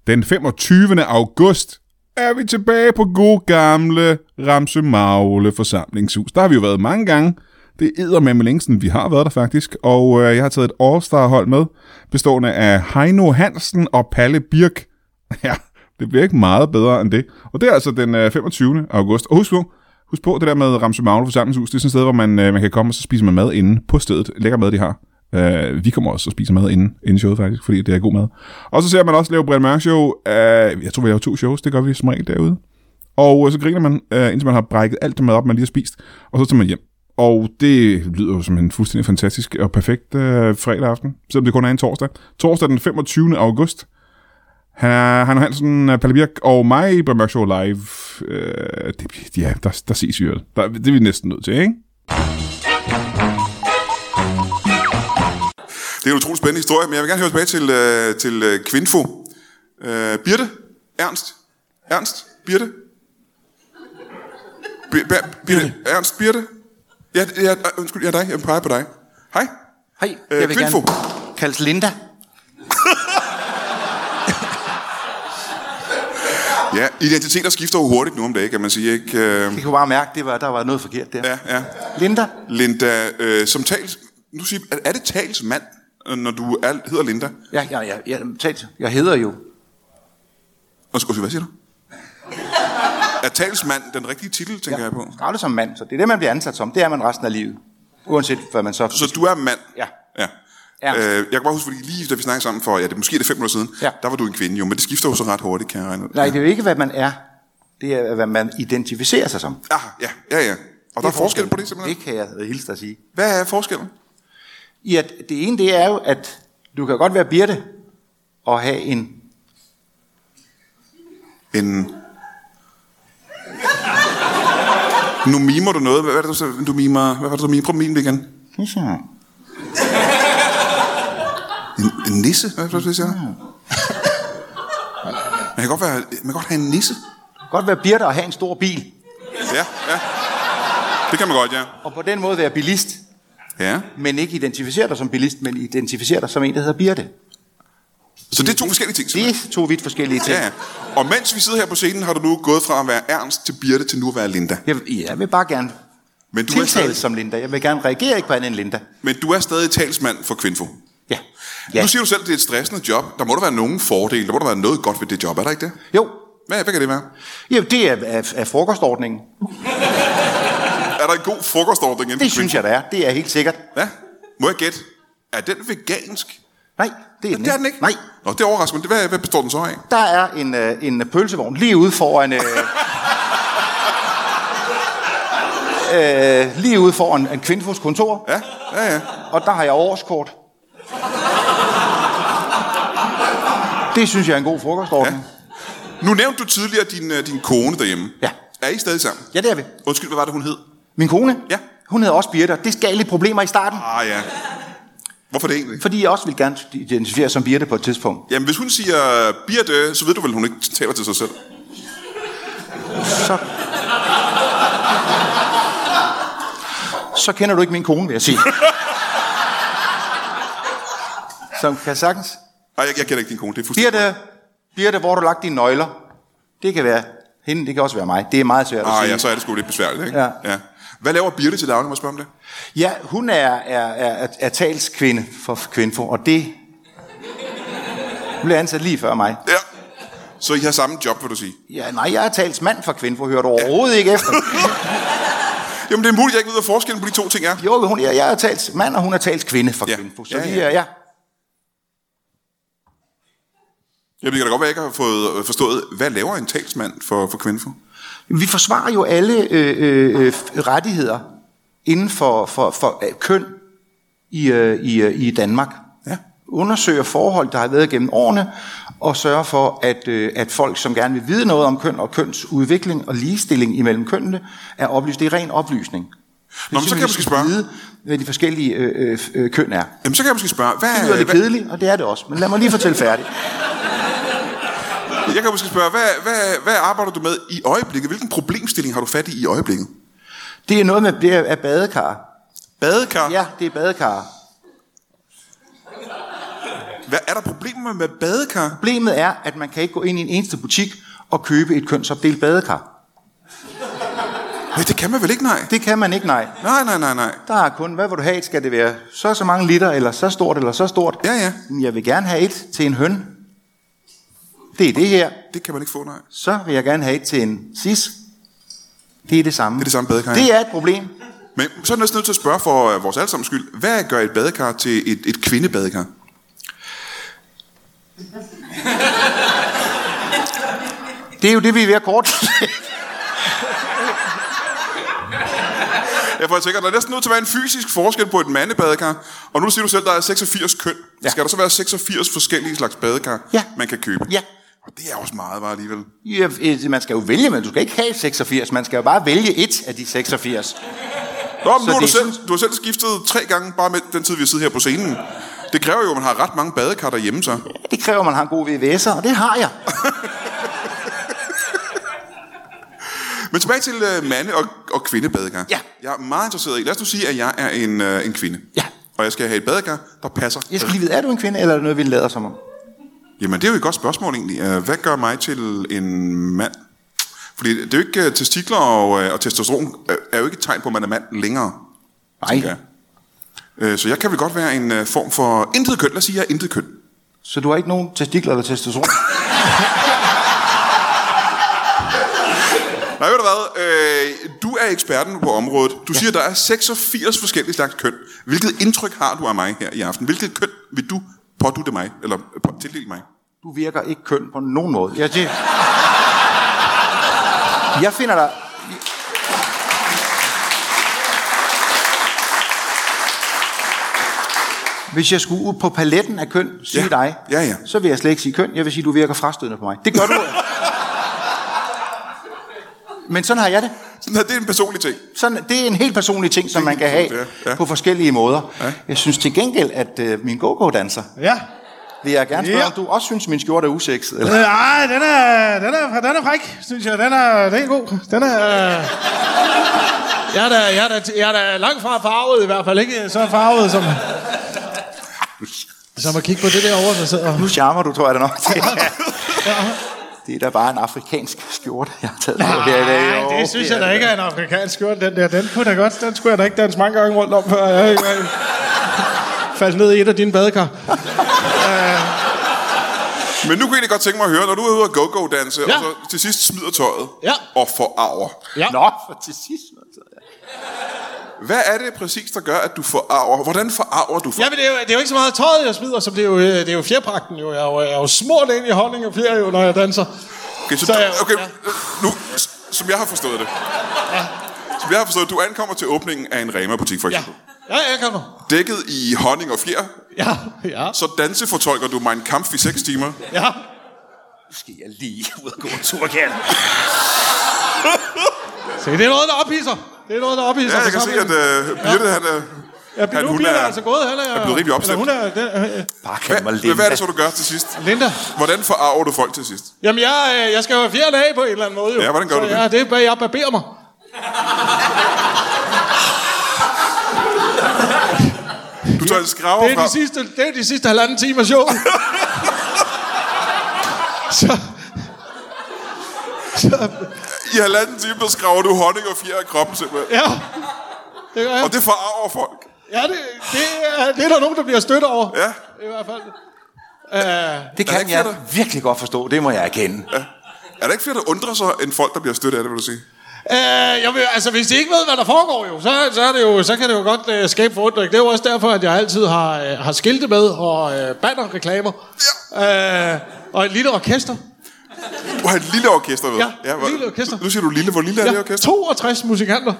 A: Den 25. august er vi tilbage på god gamle Ramse Magle forsamlingshus. Der har vi jo været mange gange. Det er med længe siden vi har været der faktisk. Og øh, jeg har taget et All-Star-hold med, bestående af Heino Hansen og Palle Birk. Ja, det bliver ikke meget bedre end det. Og det er altså den øh, 25. august. Og husk nu,
E: Husk på, det der med Ramsø Magle forsamlingshus, det er sådan et sted, hvor man, øh, man kan komme, og så spiser man mad inde på stedet. Lækker mad, de har. Øh, vi kommer også og spiser mad inde, inde i showet faktisk, fordi det er god mad. Og så ser man også lave Brian Mørk Show. Øh, jeg tror, vi laver to shows, det gør vi som regel derude. Og øh, så griner man, øh, indtil man har brækket alt det mad op, man lige har spist, og så tager man hjem. Og det lyder jo som en fuldstændig fantastisk og perfekt øh, fredag aften, selvom det kun er en torsdag. Torsdag den 25. august. Han er Hanne Hansen, øh, Palle Birk og mig i Brian Mørk Show Live. Øh, det, bliver- ja, der, der ses vi jo. Der, det er vi næsten nødt til, ikke?
A: Det er en utrolig spændende historie, men jeg vil gerne høre tilbage til, øh, til øh, Kvinfo. Øh, Birte? Ernst? Ernst? Birte? Bir, bir, Birte? Ernst? Birte? Ja, ja, øh, undskyld, ja, dig. Jeg peger på dig. Hej.
C: Hej,
A: Øh,
C: jeg vil
A: Kvinfo.
C: gerne kaldes Linda.
A: Ja, identiteter skifter jo hurtigt nu om dagen, kan man sige, ikke? Øh,
C: Jeg kunne bare mærke, det var, der var noget forkert der.
A: ja, ja.
C: Linda,
A: Linda, øh, som tals... Nu siger, er, er det talsmand, øh, når du er, hedder Linda?
C: ja, ja, ja, ja, talt. jeg hedder jo.
A: Og så, hvad siger du? Er talsmand den rigtige titel, tænker ja. jeg på?
C: Skravle som mand, så det er det, man bliver ansat som. Det er man resten af livet. Uanset hvad man så...
A: Så du er mand?
C: Ja.
A: ja.
C: Ja.
A: Øh, jeg kan bare huske, fordi lige da vi snakkede sammen for, ja, det, måske er det fem år siden,
C: Ja.
A: der var du en kvinde jo, men det skifter jo så ret hurtigt, kan jeg regne ud.
C: Nej, det er jo ikke, hvad man er. Det er, hvad man identificerer sig som.
A: Ah, ja, ja, ja. Og der er forskel på det simpelthen.
C: Det kan jeg hilse dig at sige.
A: Hvad er forskellen?
C: I at det ene, det er jo, at du kan godt være Birte og have en...
A: En... Nu mimer du noget. Hvad, hvad er det, du, så- du mimer? Hvad var det, du mimer? Prøv at mime det igen. En, en nisse? Hvad var det, du siger? Man kan, godt være, man kan godt have en nisse.
C: Godt være Birte og have en stor bil.
A: Ja, ja. Det kan man godt, ja.
C: Og på den måde være bilist.
A: Ja.
C: Men ikke identificere dig som bilist, men identificere dig som en, der hedder Birte.
A: Så det er to forskellige ting,
C: Det er to vidt forskellige ting.
A: Ja, ja. Og mens vi sidder her på scenen, har du nu gået fra at være Ernst til Birte til nu at være Linda.
C: Jeg, jeg vil bare gerne
A: Men du, er
C: tiltales
A: stadig,
C: som Linda. Jeg vil gerne reagere ikke på andet end Linda.
A: men du er stadig talsmand for Kvinfo.
C: Ja.
A: Ja.
C: ja.
A: Nu siger du selv, at det er et stressende job. Der må der være nogen fordele. Der må der være noget godt ved det job, er der ikke det?
C: Jo,
A: Hvad, hvad kan det være?
C: jo det er, er, er frokostordningen.
A: Er der en god frokostordning inde på
C: Det synes jeg, der er. Det er helt sikkert.
A: Kvinfo? Ja. Må jeg gætte? Er den vegansk?
C: Nej, det er,
A: Det er den ikke?
C: Nej.
A: Nå, det overrasker mig. Det- Hvad, hvad består den så af?
C: Der er en, øh, en pølsevogn lige ude foran... Øh, øh, lige ude foran en kvindfos kontor.
A: Ja, ja, ja.
C: Og der har jeg årskort. Det synes jeg er en god frokostordning.
A: Ja. Nu nævnte du tidligere din, øh, din kone derhjemme.
C: Ja.
A: Er I stadig sammen?
C: ja, det er vi.
A: Undskyld, hvad var det, hun hed?
C: Min kone,
A: Ja.
C: hun hedder også Birte, og det skal lidt problemer i starten.
A: Ah, ja. Hvorfor det egentlig?
C: Fordi jeg også vil gerne identificere som Birte på et tidspunkt.
A: Jamen, hvis hun siger Birte, så ved du vel, hun ikke taler til sig selv.
C: Så... Så kender du ikke min kone, vil jeg sige. Som kan sagtens...
A: Nej, jeg, jeg kender ikke din kone. Det er fuldstændig...
C: Birte, Birte, hvor har du lagt dine nøgler? Det kan være hende, det kan også være mig. Det er meget svært at
A: Ah,
C: sige.
A: ja, så er det sgu lidt besværligt, ikke?
C: Ja.
A: ja. Hvad laver Birte til daglig, må jeg spørge om det?
C: Ja, hun er, er, er, er, er talskvinde for Kvinfo, og det... Hun blev ansat lige før mig.
A: Ja. Så I har samme job, vil du sige?
C: Ja, nej, jeg er talsmand for Kvinfo, hører du overhovedet ikke efter.
A: Jamen, det er muligt, jeg ikke ved, hvad forskellen på de to ting er.
C: Jo, hun, jeg, jeg er talsmand, og hun er talskvinde for
A: Ja.
C: ja. Kvinfo. Så
A: Ja,
C: ja,
A: ja.
C: ja. ja.
A: Jamen, det kan da godt være, jeg ikke har fået øh, forstået, hvad laver en talsmand for, for Kvinfo?
C: Vi forsvarer jo alle øh, øh, øh, rettigheder inden for, for, for øh, køn i, øh, i, øh, i Danmark.
A: Ja.
C: Undersøger forhold, der har været gennem årene, og sørger for, at, øh, at folk, som gerne vil vide noget om køn og kønsudvikling og ligestilling imellem kønnene, er oplyst. Det er ren oplysning.
A: Nå, men så kan jeg måske spørge.
C: vide, hvad de forskellige øh, øh, øh, køn er.
A: Jamen, så kan jeg måske spørge, hvad,
C: Det lyder lidt
A: Øh, hvad,
C: kedeligt, og det er det også. Men lad mig lige fortælle færdigt.
A: jeg kan måske spørge, hvad, hvad, hvad arbejder du med i øjeblikket? Hvilken problemstilling har du fat i i øjeblikket?
C: Det er noget med det er, er badekar.
A: Badekar?
C: Ja, det er badekar.
A: Hvad, er der problemer med badekar?
C: Problemet er, at man kan ikke gå ind i en eneste butik og købe et kønsopdelt badekar.
A: Nej, det kan man vel ikke, nej.
C: Det kan man ikke, nej.
A: Nej, nej, nej, nej.
C: Der er kun, hvad vil du have? et? Skal det være så og så mange liter, eller så stort, eller så stort?
A: Ja, ja.
C: Men Jeg vil gerne have et til en høn. Det er det her.
A: Det kan man ikke få, nej.
C: Så vil jeg gerne have et til en sis. Det er det samme.
A: Det er det samme badekar, ja.
C: Det er et problem.
A: Men så er jeg næsten nødt til at spørge for øh, vores allesammens skyld. Hvad gør et badekar til et, et kvindebadekar?
C: Det er jo det, vi er ved at kort.
A: Ja, for jeg tænker, der er næsten nødt til at være en fysisk forskel på et mandebadekar. Og nu siger du selv, der er 86 køn. Ja.
C: Ja.
A: Skal der så være 86 forskellige slags badekar,
C: Ja.
A: man kan købe?
C: Ja.
A: Og det er også meget, var alligevel.
C: Ja, øh, man skal jo vælge, men du skal ikke have 86. Man skal jo bare vælge et af de 86.
A: Nå, men nu har du,
C: det er
A: selv, du har selv skiftet tre gange, bare med den tid, vi har siddet her på scenen. Det kræver jo, at man har ret mange badekar derhjemme, så.
C: Det kræver, at man har en god VVS'er, og det har jeg.
A: Men tilbage til øh, mande- og, og kvindebadekar.
C: Ja.
A: Jeg er meget interesseret i. Lad os nu sige, at jeg er en, øh, en kvinde.
C: Ja.
A: Og jeg skal have et badekar, der passer.
C: Jeg skal lige vide, er du en kvinde, eller er det noget, vi lader som om?
A: Jamen, det er jo et godt spørgsmål egentlig. Øh, Hvad gør mig til en mand? Fordi det er jo ikke øh, testikler og, øh, og testosteron øh, er jo ikke et tegn på, at man er mand længere. tænker
C: Nej.
A: jeg. Øh, Så jeg kan vel godt være en øh, form for intet køn. Lad os sige, at jeg er intet køn.
C: Så du har ikke nogen testikler eller testosteron?
A: Nej, ved du hvad? Øh, Du er eksperten på området. Du siger, at der er 86 forskellige slags køn. Hvilket indtryk har du af mig her i aften? Hvilket køn vil du pådutte mig? Eller øh, på- tildele mig?
C: Du virker ikke køn på nogen måde. Jeg, det... jeg finder dig... Hvis jeg skulle ud på paletten af køn, sige
A: Ja.
C: dig,
A: Ja, ja.
C: så vil jeg slet ikke sige køn. Jeg vil sige, du virker frastødende på mig. Det gør du. Men sådan har jeg det.
A: Sådan her, det er en personlig ting.
C: Sådan, det er en helt personlig ting, som man kan have
A: personligt, ja.
C: ja.
A: Ja.
C: på forskellige måder.
A: Ja.
C: Ja. Jeg synes til gengæld, at øh, min go-go-danser,
B: Ja.
C: vil jeg gerne spørge,
B: Ja.
C: ja. om du også synes, min skjorte er usexet. Eller?
B: Øh, ej, den er, den, er, den er fræk, synes jeg. Den er, den er god. Den er... Jeg er, da, jeg, er da, jeg er da langt fra farvet, i hvert fald ikke så farvet som... Som at kigge på det der over, der sidder...
C: Nu charmer du, tror jeg da nok. Det er, det er da bare en afrikansk skjorte, jeg har taget på her i dag.
B: Nej,
C: Jo,
B: det synes
C: er
B: jeg da ikke er en afrikansk skjort, den der. Den kunne da godt, den skulle jeg da ikke danse mange gange rundt om, før jeg, jeg faldt ned i et af dine badekar.
A: Men nu kunne jeg egentlig godt tænke mig at høre, når du er ude og go-go-danse, ja.
B: Ja.
A: og så til sidst smider tøjet
B: Ja.
A: og forarver.
B: Ja.
C: Nå, for til sidst. altså.
A: Hvad er det præcis, der gør, at du forarver? Hvordan forarver du? For...
B: Ja, men det er, jo, det er jo ikke så meget tøjet, jeg smider, som det er jo, øh, det er jo fjerpragten. Jo. Jeg, er jo, jeg er jo smurt ind i honning og fjer, jo, når jeg danser.
A: Okay, så,
B: Så jeg-
A: okay
B: ja.
A: nu, s- som jeg har forstået det. Som jeg har forstået, du ankommer til åbningen af en Rema-butik, for
B: Ja,
A: eksempel.
B: ja jeg kommer.
A: Dækket i honning og fjer,
B: Ja, ja,
A: så dansefortolker du Mein Kampf i 6 timer.
B: ja.
C: Nu skal jeg lige ud og gå en tur, kan jeg?
B: Se, det er noget, der ophidser. Det er noget, der ophidser.
A: Ja, jeg kan se, at uh, Birte, han er...
B: Ja, nu
A: hun
B: bliver
A: er-
B: det altså gået, han
A: er
B: er,
A: blevet rimelig
B: eller
A: opstemt.
B: hun er, den, øh,
C: Bare kald mig
A: Hvad,
C: Linda.
A: hvad er det så, du gør til sidst?
B: Linda.
A: Hvordan forarver du folk til sidst?
B: Jamen, jeg, øh, jeg skal jo have fjerde af på en eller anden måde, jo.
A: Ja, hvordan gør
B: så
A: du det?
B: Ja, det er, hvad jeg barberer mig.
A: Du tager en skraver
B: Det er
A: frem.
B: de sidste, det er de sidste halvanden time af showet. så, så,
A: I halvanden time, der skraver du honning og fjer af kroppen simpelthen.
B: ja. Det gør jeg.
A: Og det forarver folk.
B: Ja, det, det, er, det er der nogen, der bliver stødt over.
A: Ja.
B: I hvert fald.
C: Det
A: Er der
C: kan
A: ikke flere
C: jeg virkelig godt forstå, det må jeg erkende.
A: Er der ikke flere, der undrer sig, end folk, der bliver stødt af det, vil du sige?
B: Øh, jeg vil, altså, hvis de ikke ved, hvad der foregår, jo, så, så, er det jo, så kan det jo godt øh, skabe forundring. Det er jo også derfor, at jeg altid har, øh, har skilte med og øh, bannerreklamer. Ja. Øh, og et lille orkester.
A: Du har et lille orkester med.
B: Ja,
A: hvor-
B: lille orkester.
A: Nu siger du lille. Hvor lille er det orkester?
B: 62 musikanter.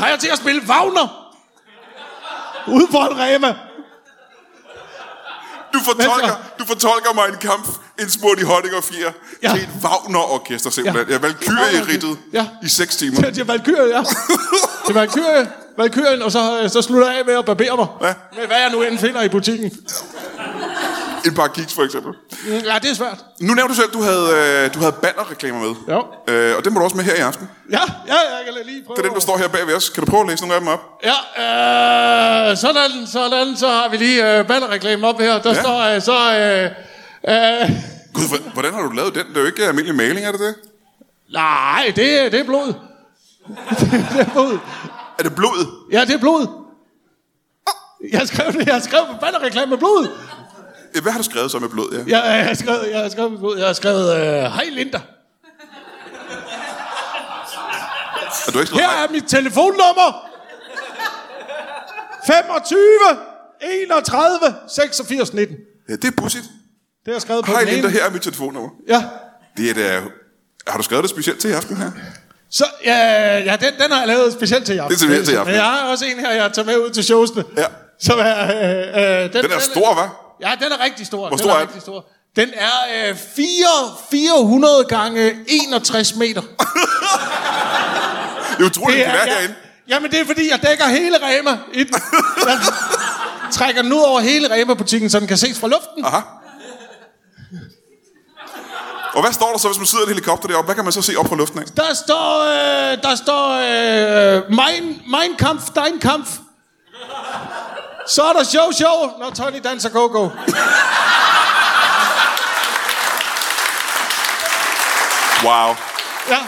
B: Har jeg til at spille Wagner? Ude for en Rema.
A: Du fortolker, du fortolker mig en kamp, en smurt i honning og fjer, ja.
B: Ja.
A: til et Wagner-orkester simpelthen. Ja.
B: Ja.
A: Jeg valkyrie ridtet ja.
B: Ja.
A: i 6 timer.
B: Til, til Valkyrie, ja. til Valkyrie, Valkyrien, og så, øh, så slutter jeg af med at barbere mig.
A: Ja.
B: Med hvad jeg nu end finder i butikken.
A: En par kiks for eksempel.
B: Mm, Ja, det er svært.
A: Nu nævnte du selv, du havde, øh, du havde bannerreklamer med.
B: Jo.
A: Øh, og den må du også med her i aften.
B: Ja, ja, jeg kan lige prøve.
A: Det er den, der står her bag ved os. Kan du prøve at læse nogle af dem op?
B: Ja, øh, sådan, sådan, så har vi lige øh, bannerreklamen op her. Der
A: Ja.
B: ja. står øh, så... Øh, øh,
A: Gud, hvor- hvordan har du lavet den? Det er jo ikke almindelig maling, er det det?
B: nej, det, det er blod. det er blod.
A: Er det blod?
B: Ja, det er blod. Jeg skrev det, jeg skrev bannerreklame med blod.
A: Hvad har du skrevet så med blod, ja?
B: øh, Jeg, jeg skrev, jeg skrev med blod, jeg har skrevet, øh, hej Linda.
A: du har ikke skrevet
B: Her
A: nej.
B: er mit telefonnummer. 25, 31, 86, 19. Det
A: Ja, det er pudsigt.
B: har jeg skrevet på
A: Hej
B: den
A: Linda,
B: ene.
A: her er mit telefonnummer.
B: Ja.
A: Det er da... Har du skrevet det specielt til i aften her?
B: Så, ja, ja den, den har jeg lavet specielt til jer.
A: Det er specielt til i aften,
B: Men
A: ja.
B: jeg har også en her, jeg tager med ud til showsene.
A: Ja.
B: Som er, øh, øh,
A: Den er stor, hva'?
B: Ja, den er rigtig stor.
A: Hvor
B: den
A: stor er den?
B: Rigtig stor. Den er øh, 4, 400 gange 61 meter.
A: Det er utroligt, det er, være herinde.
B: Jamen, det er fordi, jeg dækker hele Rema. I den. Jeg trækker den ud over hele Rema-butikken, så den kan ses fra luften.
A: Aha. Og hvad står der så, hvis man sidder i en helikopter deroppe? Hvad kan man så se op fra luften af?
B: Der står, øh, der står, øh, mein, mein Kampf, dein Kampf. Så er der show, show, når Tony danser go-go.
A: Wow.
B: Ja.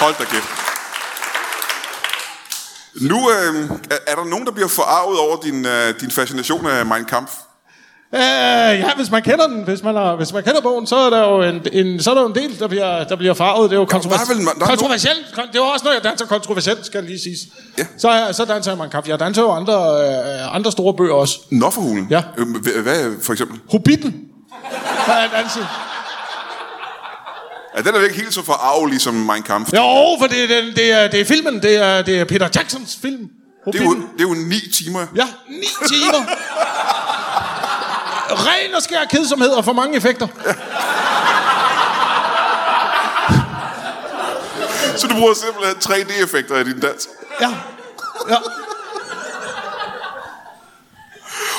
A: Hold da kæft. Nu øh, er, er der nogen, der bliver forarvet over din, øh, din fascination af Mein Kampf.
B: Øh, ja, hvis man kender den, hvis man, har, hvis man kender bogen, så er der jo en, en, så er der jo en del, der bliver, der bliver farvet. Det er jo kontrovers-
A: vel- der er nogen-
B: kontroversielt. Kon- Det er jo også noget, jeg danser kontroversielt, skal jeg lige sige.
A: Ja.
B: Så, er- så danser jeg mig en kaffe. Jeg danser jo andre, øh, andre store bøger også.
A: Nå for hulen.
B: Ja.
A: Øh, hva- hvad for eksempel?
B: Hobbiten. Har jeg danset.
A: Ja, den er jo ikke helt så forarvelig som Mein Kampf.
B: Jo, for det, er den, det, er, det er filmen. Det er, det er Peter Jacksons film.
A: Det er, jo,
B: Hobbiten.
A: det er jo ni timer.
B: Ja, ni timer. Ren og skær kedsomhed og for mange effekter.
A: Så du bruger simpelthen 3D-effekter i din dans.
B: Ja. ja.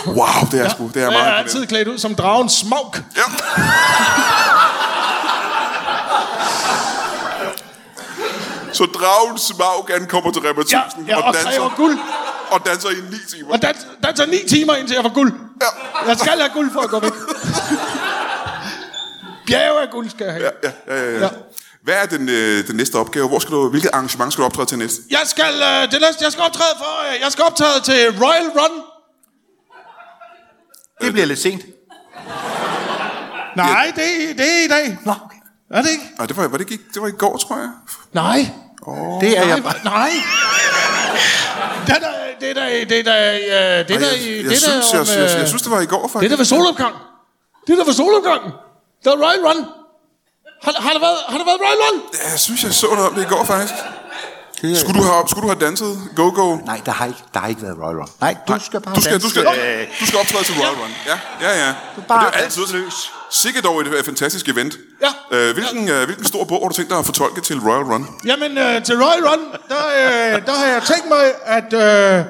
A: Wow, det er ja. sgu. Det er meget
B: Og jeg er
A: imponerende.
B: altid klædt ud som dragen Smaug.
A: Ja. Så dragen Smaug ankommer til Rema 1000
B: Ja, ja, og kræver guld.
A: og danser i 9 timer.
B: Og dans, danser ni timer, indtil jeg får guld.
A: Ja.
B: Jeg skal have guld for at gå væk. Bjerge af guld skal jeg have.
A: Ja, ja, ja, ja.
B: Ja.
A: Øh, Hvad er den, øh, den næste opgave? Hvor skal du, hvilket arrangement skal du optræde til næste?
B: Jeg skal, øh, det næste, jeg skal optræde for, øh, jeg skal optræde til Royal Run.
C: Det bliver lidt sent.
B: Nej, det, er- det er i dag.
C: Nå, okay.
B: Er det ikke?
A: Nej, det var, var det, ikke, det var i går, tror jeg.
B: Nej.
C: Det er
B: Nej,
C: jeg
B: hva- nej. Det er der, det er der, det er der, øh, det er
A: Ej,
B: der,
A: jeg,
B: i-
A: jeg,
B: det er der,
A: synes, jeg,
B: om,
A: jeg, jeg,
B: øh,
A: jeg, synes, det var i går,
B: Det er
A: faktisk.
B: der ved solopgang. Det er der ved solopgangen. Der er Royal Run. Har, har, der været, har der været Royal Run?
A: Ja, jeg synes, jeg så noget om det i går, faktisk. Skulle du have, skulle du have danset go-go?
C: Nej, der har ikke, der har ikke været Royal Run. Nej, du skal bare
A: Du skal, du, skal,
C: danse, øh,
A: du skal optræde til Royal Run. Ja, ja, ja. Du
C: bare
A: det er altid
C: løs.
A: Sikkert dog et øh, fantastisk event.
B: Ja.
A: Øh, hvilken, øh, hvilken stor bog har du tænkt dig at fortolke til Royal Run?
B: Jamen, øh, til Royal Run, der, øh, der har jeg tænkt mig at, øh,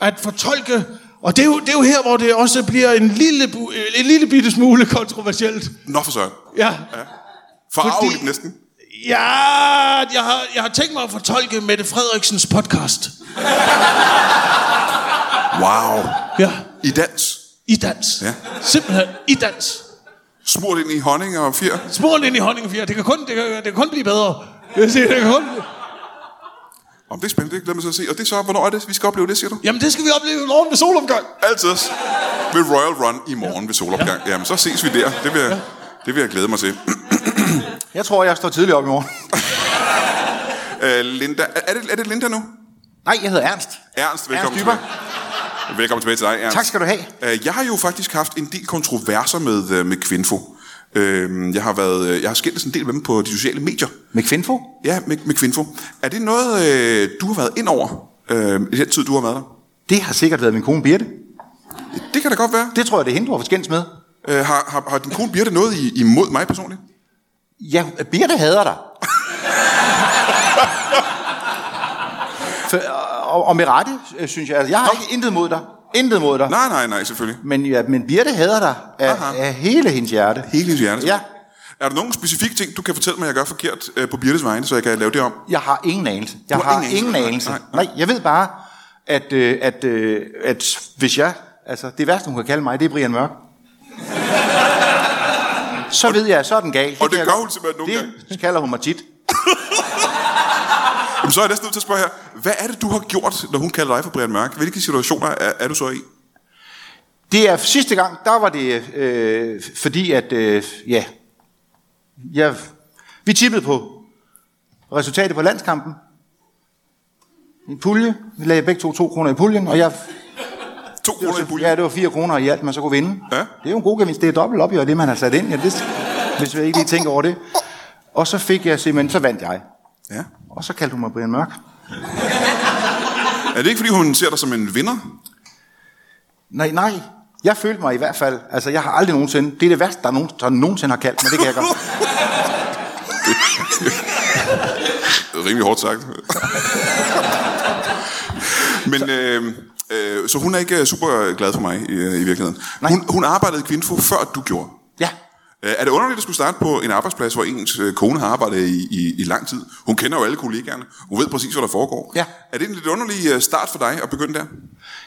B: at fortolke... Og det er, jo, det er jo her, hvor det også bliver en lille, bu- en lille bitte smule kontroversielt.
A: Nå for søren.
B: Ja,
A: Forarveligt
B: Fordi-
A: næsten.
B: ja jeg, har, jeg har tænkt mig at fortolke Mette Frederiksens podcast.
A: Wow.
B: Ja,
A: I dans.
B: i dans.
A: Ja.
B: Simpelthen, i dans.
A: Smurt ind i honning og fjer.
B: Smuren ind i honningfjer. Det kan kun, det kan, det kan kun blive bedre. Jeg vil sige, det kan kun...
A: Om det er spændende, det glemmer jeg så at se. Og det er så, hvornår er det, vi skal opleve det, siger du?
B: Jamen, det skal vi opleve i morgen ved solomgang.
A: Altid. Ved Royal Run i morgen ved solopgang. Jamen, så ses vi der. Det vil, jeg, det vil jeg glæde mig til.
C: Jeg tror, jeg står tidligt op i morgen.
A: Øh, Linda, er er det, er det Linda nu?
C: Nej, jeg hedder Ernst.
A: Ernst, velkommen
C: Ernst Dyber.
A: tilbage. Velkommen tilbage til dig, Ernst.
C: Tak skal du have.
A: Øh, Jeg har jo faktisk haft en del kontroverser med, øh, med Kvinfo. Øh, Jeg har, været, øh, jeg har skændtes en del med dem på de sociale medier.
C: Med Kvinfo?
A: Ja, med, med Kvinfo. Er det noget, øh, du har været ind over øh, i den tid, du har været der?
C: Det har sikkert været min kone Birte.
A: Det kan da godt være.
C: Det tror jeg, det er hende, du har forskændes med.
A: Øh, Har, har, har din kone Birte noget i, imod mig personligt?
C: Ja, Birte hader dig. For, og, og med rette, øh, synes jeg. Altså, jeg har
A: Nå.
C: ikke intet mod dig. Intet mod dig.
A: Nej, nej, nej, selvfølgelig.
C: Men, ja, men Birte hader dig af,
A: Aha.
C: af hele hendes hjerte.
A: Hele hendes hjerte.
C: Ja.
A: Er der nogen specifikke ting, du kan fortælle mig, jeg gør forkert øh, på Birtes vegne, så jeg kan lave det om?
C: Jeg har ingen anelse. Jeg
A: Du
C: har,
A: har ingen
C: ingen, ingen
A: anelse.
C: anelse.
A: Nej,
C: Nej,
A: nej,
C: nej. nej, jeg ved bare, at, øh, at, øh, at hvis jeg... Altså, det værste, hun kan kalde mig, det er Brian Mørk. Så ved jeg, at så er den gal.
A: og det
C: kan jeg
A: gør
C: godt-
A: hun simpelthen nogle
C: Det kalder hun mig tit.
A: Jamen, så er jeg næsten nødt til at spørge her. Hvad er det, du har gjort, når hun kalder dig for Brian Mørk? Hvilke situationer er, er du så i?
C: Det er sidste gang, der var det øh, fordi, at øh, ja, jeg, vi tippede på Og resultatet på landskampen, en pulje, vi lagde begge to to kroner i puljen, og jeg
A: To kroner i puljen.
C: Ja, det var 4 kroner i alt, man så kunne vinde.
A: Ja.
C: Det er jo en god gevinst. Det er dobbelt op i det, man har sat ind. Ja, det, hvis jeg ikke lige tænker over det. Og så fik jeg simpelthen, så vandt jeg.
A: Ja.
C: Og så kaldte hun mig Brian Mørk.
A: Er det ikke, fordi hun ser dig som en vinder?
C: Nej, nej. Jeg følte mig i hvert fald, altså jeg har aldrig nogensinde, det er det værste, der, er nogen, der nogensinde har kaldt mig, det kan jeg godt.
A: Rimelig hårdt sagt. Men øh, øh, så hun er ikke øh, super glad for mig i, i virkeligheden.
C: Nej.
A: Hun, hun arbejdede i Kvinfo, før du gjorde.
C: Ja,
A: Øh, Er det underligt at skulle starte på en arbejdsplads, hvor ens øh, kone har arbejdet i, i, i lang tid? Hun kender jo alle kollegaerne. Hun ved præcis, hvad der foregår.
C: Ja.
A: Er det en lidt underlig øh, start for dig at begynde der?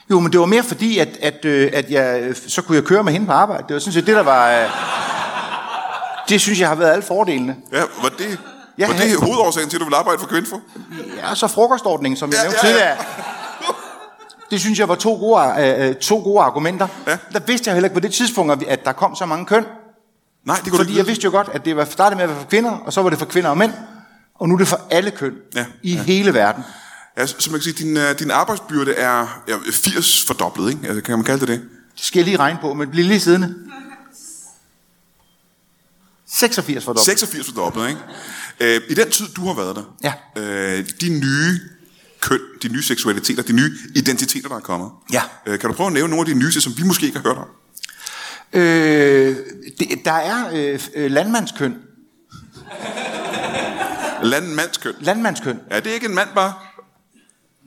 C: jo, men det var mere fordi, at, at, øh, at jeg, øh, så kunne jeg køre med hende på arbejde. Det var sådan set det, der var, øh, det synes jeg har været alle fordelene.
A: Ja, var det,
C: Ja,
A: ja, var det
C: ja.
A: hovedårsagen til, at du ville arbejde for Kvinfo?
C: Ja, og så frokostordningen, som jeg
A: Ja,
C: ja, nævnte
A: ja, ja.
C: tidligere. Det synes jeg var to gode, øh, øh, to gode argumenter.
A: Ja.
C: Der vidste jeg heller ikke på det tidspunkt, at vi- at der kom så mange køn.
A: Nej, det kunne du
C: Fordi
A: ikke
C: jeg
A: vide.
C: vidste jo godt, at det var startede med at være for kvinder, og så var det for kvinder og mænd. Og nu er det for alle køn
A: Ja,
C: i hele verden.
A: Ja, så så man kan sige, din, øh, din arbejdsbyrde er ja, 80 fordoblet, ikke? Altså, kan man kalde det det?
C: Det skal jeg lige regne på, men bliv lige siddende. 86 for
A: 86 fordoblet, ikke? Øh, I den tid, du har været der,
C: Ja.
A: øh, de nye køn, de nye seksualiteter, de nye identiteter, der er kommet.
C: Ja.
A: Øh, kan du prøve at nævne nogle af de nyeste, som vi måske ikke har hørt om?
C: Øh, det, der er øh, øh, landmandskøn.
A: Landmandskøn.
C: Landmandskøn.
A: Ja, det er ikke en mand bare.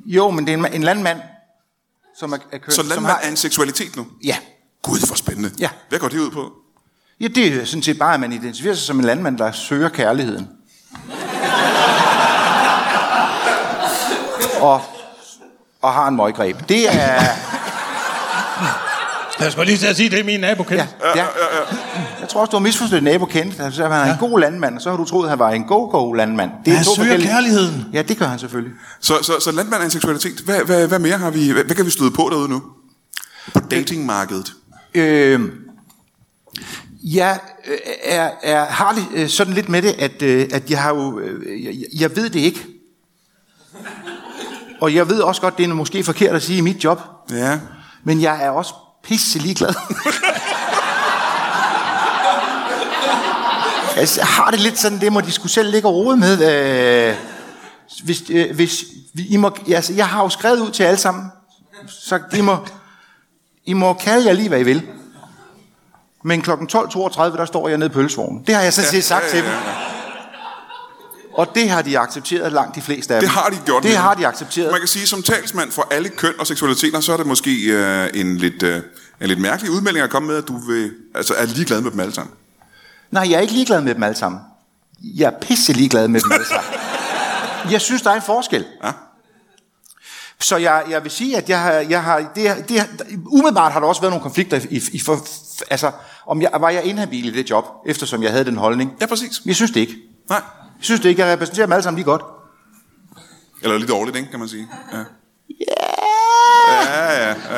C: Jo, men det er en, ma- en landmand, som er, er
A: Så
C: køn. Øh, som
A: landmand
C: har,
A: er en seksualitet nu?
C: Ja,
A: Gud, hvor spændende.
C: Ja.
A: Hvad går det ud på?
C: Ja, det er sådan set bare, at man identificerer sig som en landmand, der søger kærligheden. og, og har en møggreb. Det er...
B: Jeg skulle lige til at sige, det er min nabo
C: Ja,
B: kendt.
C: ja. Jeg tror også, du har misforstået nabo kendt. Han sagde, at han er en god landmand, og så har du troet, at han var en go-go landmand. Det
B: Han søger kærligheden.
C: Ja, det gør han selvfølgelig.
A: Så, så, så landmand er en seksualitet. Hvad, hvad, hvad mere har vi? Hvad, hvad kan vi støde på derude nu? På datingmarkedet.
C: Øh, jeg øh, er, er, har det øh, sådan lidt med det, at, øh, at jeg har jo, øh, jeg, jeg ved det ikke. Og jeg ved også godt, det er måske forkert at sige i mit job,
A: Ja.
C: men jeg er også pisse ligeglad. altså, jeg har det lidt sådan, det må de skulle selv ligge og rode med. Øh, hvis, øh, hvis vi, I må, altså, jeg har jo skrevet ud til alle sammen, så I må, I må kalde jer lige, hvad I vil. Men kl. 12.32, der står jeg nede i pølsevognen. Det har jeg sådan set sagt
A: ja,
C: til dem.
A: ja, ja.
C: Og det har de accepteret langt de fleste af
A: Det
C: dem.
A: har de gjort.
C: Det
A: nemlig.
C: har de accepteret.
A: Man kan sige, som talsmand for alle køn og seksualiteter, så er det måske øh, en, lidt, øh, en lidt mærkelig udmelding at komme med, at du vil, altså, er ligeglad med dem alle sammen.
C: Nej, jeg er ikke ligeglad med dem alle sammen. Jeg er pisse ligeglad med dem alle sammen. Jeg synes, der er en forskel.
A: Ja.
C: Så jeg, jeg vil sige, at jeg har, jeg har, det, har- det, har- umiddelbart har der også været nogle konflikter i, i for, altså, om jeg, var jeg inhabil i det job, eftersom jeg havde den holdning.
A: Ja, præcis.
C: Jeg synes det ikke.
A: Nej.
C: Jeg synes det ikke. Jeg repræsenterer dem alle sammen lige godt.
A: Eller lidt dårligt, ikke, kan man sige. Ja.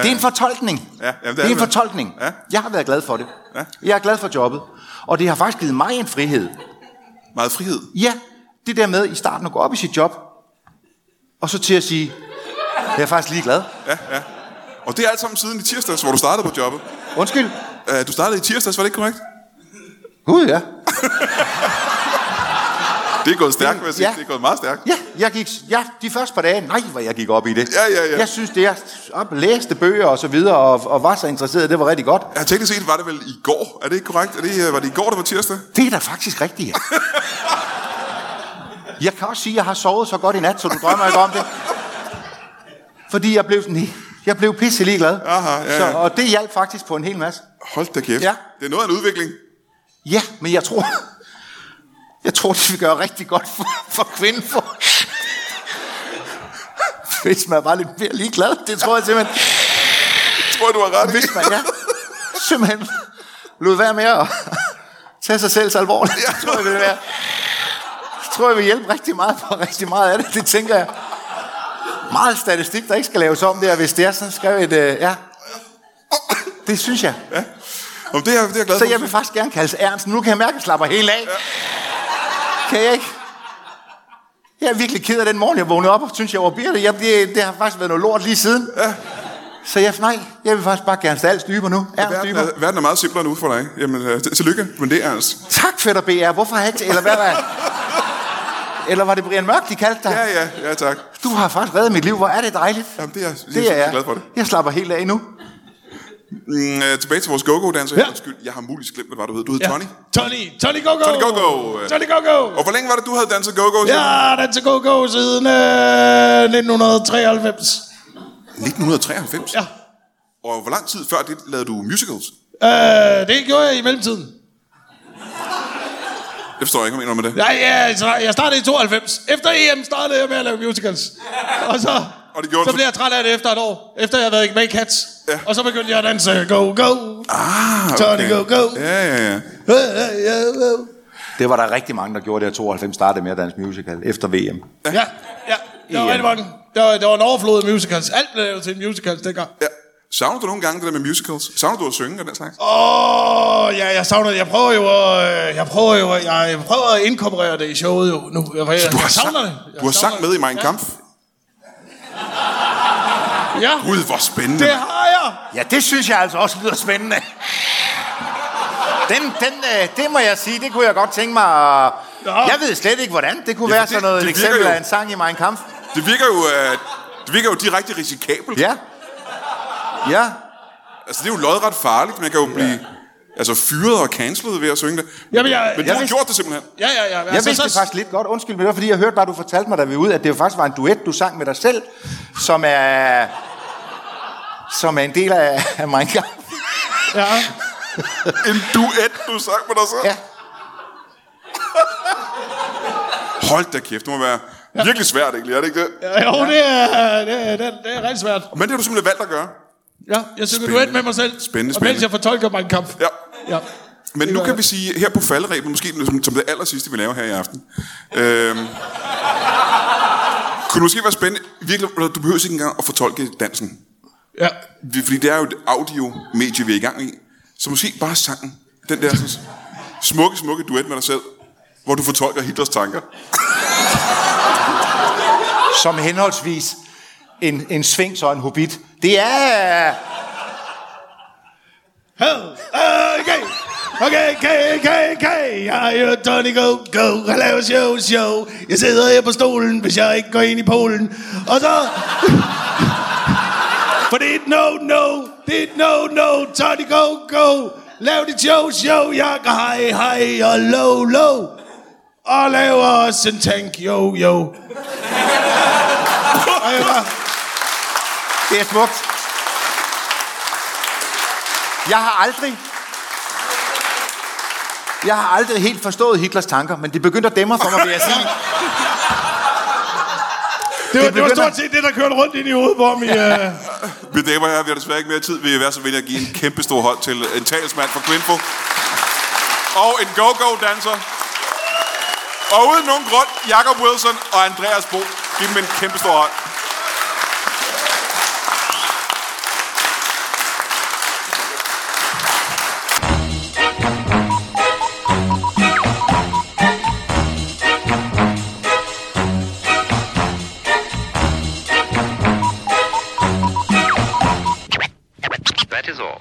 C: Det er en fortolkning.
A: Ja, jamen, det er
C: det er en
A: det.
C: fortolkning.
A: Ja.
C: Jeg har været glad for det.
A: Ja.
C: Jeg er glad for jobbet. Og det har faktisk givet mig en frihed.
A: Meget frihed.
C: Ja, det der med i starten at gå op i sit job, og så til at sige, jeg er faktisk ligeglad.
A: Og det er alt sammen siden i tirsdags, hvor du startede på jobbet.
C: Undskyld.
A: Øh, du startede i tirsdags, var det ikke korrekt?
C: Gud, ja.
A: Det er gået stærkt, vil jeg sige.
C: Ja.
A: Det er gået meget stærkt.
C: Ja, jeg gik, ja, de første par dage, nej, hvor jeg gik op i det.
A: Ja, ja, ja.
C: Jeg synes, det er op, læste bøger og så videre, og, og var så interesseret, det var rigtig godt.
A: Ja, teknisk set var det vel i går. Er det ikke korrekt? Er det, øh, var det i går, der var tirsdag?
C: Det er da faktisk rigtigt, ja. Jeg kan også sige, at jeg har sovet så godt i nat, så du drømmer ikke om det. Fordi jeg blev sådan, jeg blev pisselig glad.
A: Aha, ja, ja.
C: Så, og det hjalp faktisk på en hel masse.
A: Hold da kæft.
C: Ja.
A: Det er noget af en udvikling.
C: Ja, men jeg tror, jeg tror, det vil gøre rigtig godt for, for kvinden. For, hvis man var lidt mere ligeglad, det tror jeg simpelthen.
A: Jeg tror, du har ret.
C: Hvis man, ja, simpelthen lod være med at tage sig selv så alvorligt. Det tror jeg, vil være. Det tror jeg vil hjælpe rigtig meget på rigtig meget af det. Det tænker jeg. Meget statistik, der ikke skal laves om der, hvis det er sådan skrevet et... Øh, ja. Det synes jeg.
A: Om det, er, det er jeg glad
C: Så
A: for.
C: jeg vil faktisk gerne kaldes Ernst. Nu kan jeg mærke, at jeg slapper helt af. Kan jeg ikke? Jeg er virkelig ked af den morgen, jeg vågnede op og synes, jeg var Birte. Jeg, det, det, har faktisk været noget lort lige siden. Ja. Så jeg, nej, jeg vil faktisk bare gerne alt dybere nu. Ja,
A: Verden
C: dybere.
A: er, verden er meget simplere nu for dig. Jamen, øh, til- tillykke med det, Ernst.
C: Tak, fætter BR. Hvorfor har jeg ikke... Eller hvad var Eller var det Brian Mørk, de kaldte dig?
A: Ja, ja, ja, tak.
C: Du har faktisk reddet mit liv. Hvor er det dejligt.
A: Jamen, det er, jeg,
C: Det er
A: jeg
C: jeg.
A: er glad for det.
C: Jeg slapper helt af nu.
A: Mm, øh, tilbage til vores go-go-danser.
B: Ja.
A: Ja. Undskyld, jeg har muligvis glemt, hvad det var, du hed. Du hed ja. Tony.
B: Tony, Tony Go-Go.
A: Tony Go-Go. øh.
B: Tony Go-Go.
A: Og hvor længe var det, du havde danset go-go?
B: Jeg har danset Go-Go siden øh, 1993.
A: 1993?
B: Ja.
A: Og hvor lang tid før det lavede du musicals?
B: Øh, det gjorde jeg i mellemtiden.
A: Det forstår jeg ikke, hvad jeg mener med det. Ja.
B: Nej, ja, så jeg startede i 92. Efter EM startede jeg med at lave musicals. Og så,
A: Og det gjorde
B: så
A: du-
B: blev jeg træt af det efter et år. Efter jeg havde været med i Cats.
A: Ja.
B: Ja. Og så begyndte jeg at danse Go Go.
A: Ah,
B: Tony Go-Go.
A: Ja, ja, ja.
B: Øh, øh, ja, øh.
C: Det var der rigtig mange, der gjorde det, at 92 startede med at danse musical efter VM.
B: Ja, ja. Det var
C: EM.
B: rigtig mange. Det var, det var en overflod af musicals. Alt blev lavet til musicals dengang.
A: ja. Savner du nogle gange det der med musicals? Savner du at synge og den slags?
B: Åh, oh, ja, jeg savner Jeg prøver jo at... øh, Jeg prøver jo at, jeg prøver at inkorporere det i showet jo nu. Jeg, jeg, jeg,
A: Du har,
B: jeg savner
A: sang,
B: det. Jeg
A: du har sang
B: savner
A: med
B: det.
A: i Mein Kampf.
B: Ja,
A: Gud, hvor spændende.
B: det har jeg.
C: Ja, det synes jeg altså også lyder spændende. Den, den, øh, det må jeg sige, det kunne jeg godt tænke mig. at-
B: Nå.
C: Jeg ved slet ikke, hvordan. Det kunne
A: Ja, for
C: være
A: det-
C: sådan noget,
A: det
C: et
A: virker
C: eksempel
A: jo.
C: af en sang i Mein Kampf.
A: Det virker jo, øh, det virker jo direkte risikabelt.
C: Ja. Ja.
A: Altså, det er jo lodret farligt. Man kan jo blive altså, fyret og cancelet ved at synge det.
B: Jamen, jeg-
A: Men du
B: jeg
A: har
C: vidste-
A: gjort det simpelthen.
B: Ja, ja, ja.
C: Jeg altså, vidste det faktisk lidt godt. Undskyld, men det var fordi, jeg hørte bare, du fortalte mig, da vi var ude, at det jo faktisk var en duet, du sang med dig selv, som er, som er en del af, af Mein Kampf.
B: Ja.
A: En duet, du sang med dig selv.
C: Ja.
A: Hold da kæft, det må være virkelig svært, egentlig, er det ikke det?
B: Jo, det er, det, er, det, er, det er rigtig svært.
A: Men det har du simpelthen valgt at gøre.
B: Ja, jeg synger
A: Spændende.
B: duet med mig selv.
A: Spændende,
B: Og mens
A: spændende.
B: jeg fortolker mig en kamp.
A: Ja.
B: ja.
A: Men
B: Det
A: nu
B: gør
A: kan
B: jeg.
A: vi sige, her på falderæbet, måske som, som det aller sidste, vi laver her i aften. Øhm, kunne det måske være spændende, virkelig, du behøver ikke engang at fortolke dansen.
B: ja.
A: Vi- Fordi det er jo et audio-medie, vi er i gang i. Så måske bare sangen. Den der sådan, smukke, smukke duet med dig selv, hvor du fortolker Hitlers tanker.
C: Som henholdsvis en, en svings og en hobbit. Det er...
B: Hell, Uh, okay. Okay, okay, okay, okay. Jeg er Tony Go, go. Jeg laver show, show. Jeg sidder her på stolen, hvis jeg ikke går ind i Polen. Og så... For det er et no, no. Det er et no, no. Tony Go, go. Lav dit show, show. Jeg går hej, hej og low, low. Og laver også en tank, yo, yo. Og jeg var...
C: Det er smukt. Jeg har aldrig... Jeg har aldrig helt forstået Hitlers tanker, men det begyndte at dæmre for mig, vil jeg sige.
B: Det var, det var
C: begynder-
B: stort set det, der kørte rundt ind i hovedet på ham i... Øh...
A: Mine damer og herrer, vi har desværre ikke mere tid. Vi vil være så venlige at give en kæmpe stor hånd til øh, en talsmand for Kvinfo. Og en go-go-danser. Og uden nogen grund, Jakob Wilson og Andreas Bo. Giv dem en kæmpe stor hånd.
F: That is all.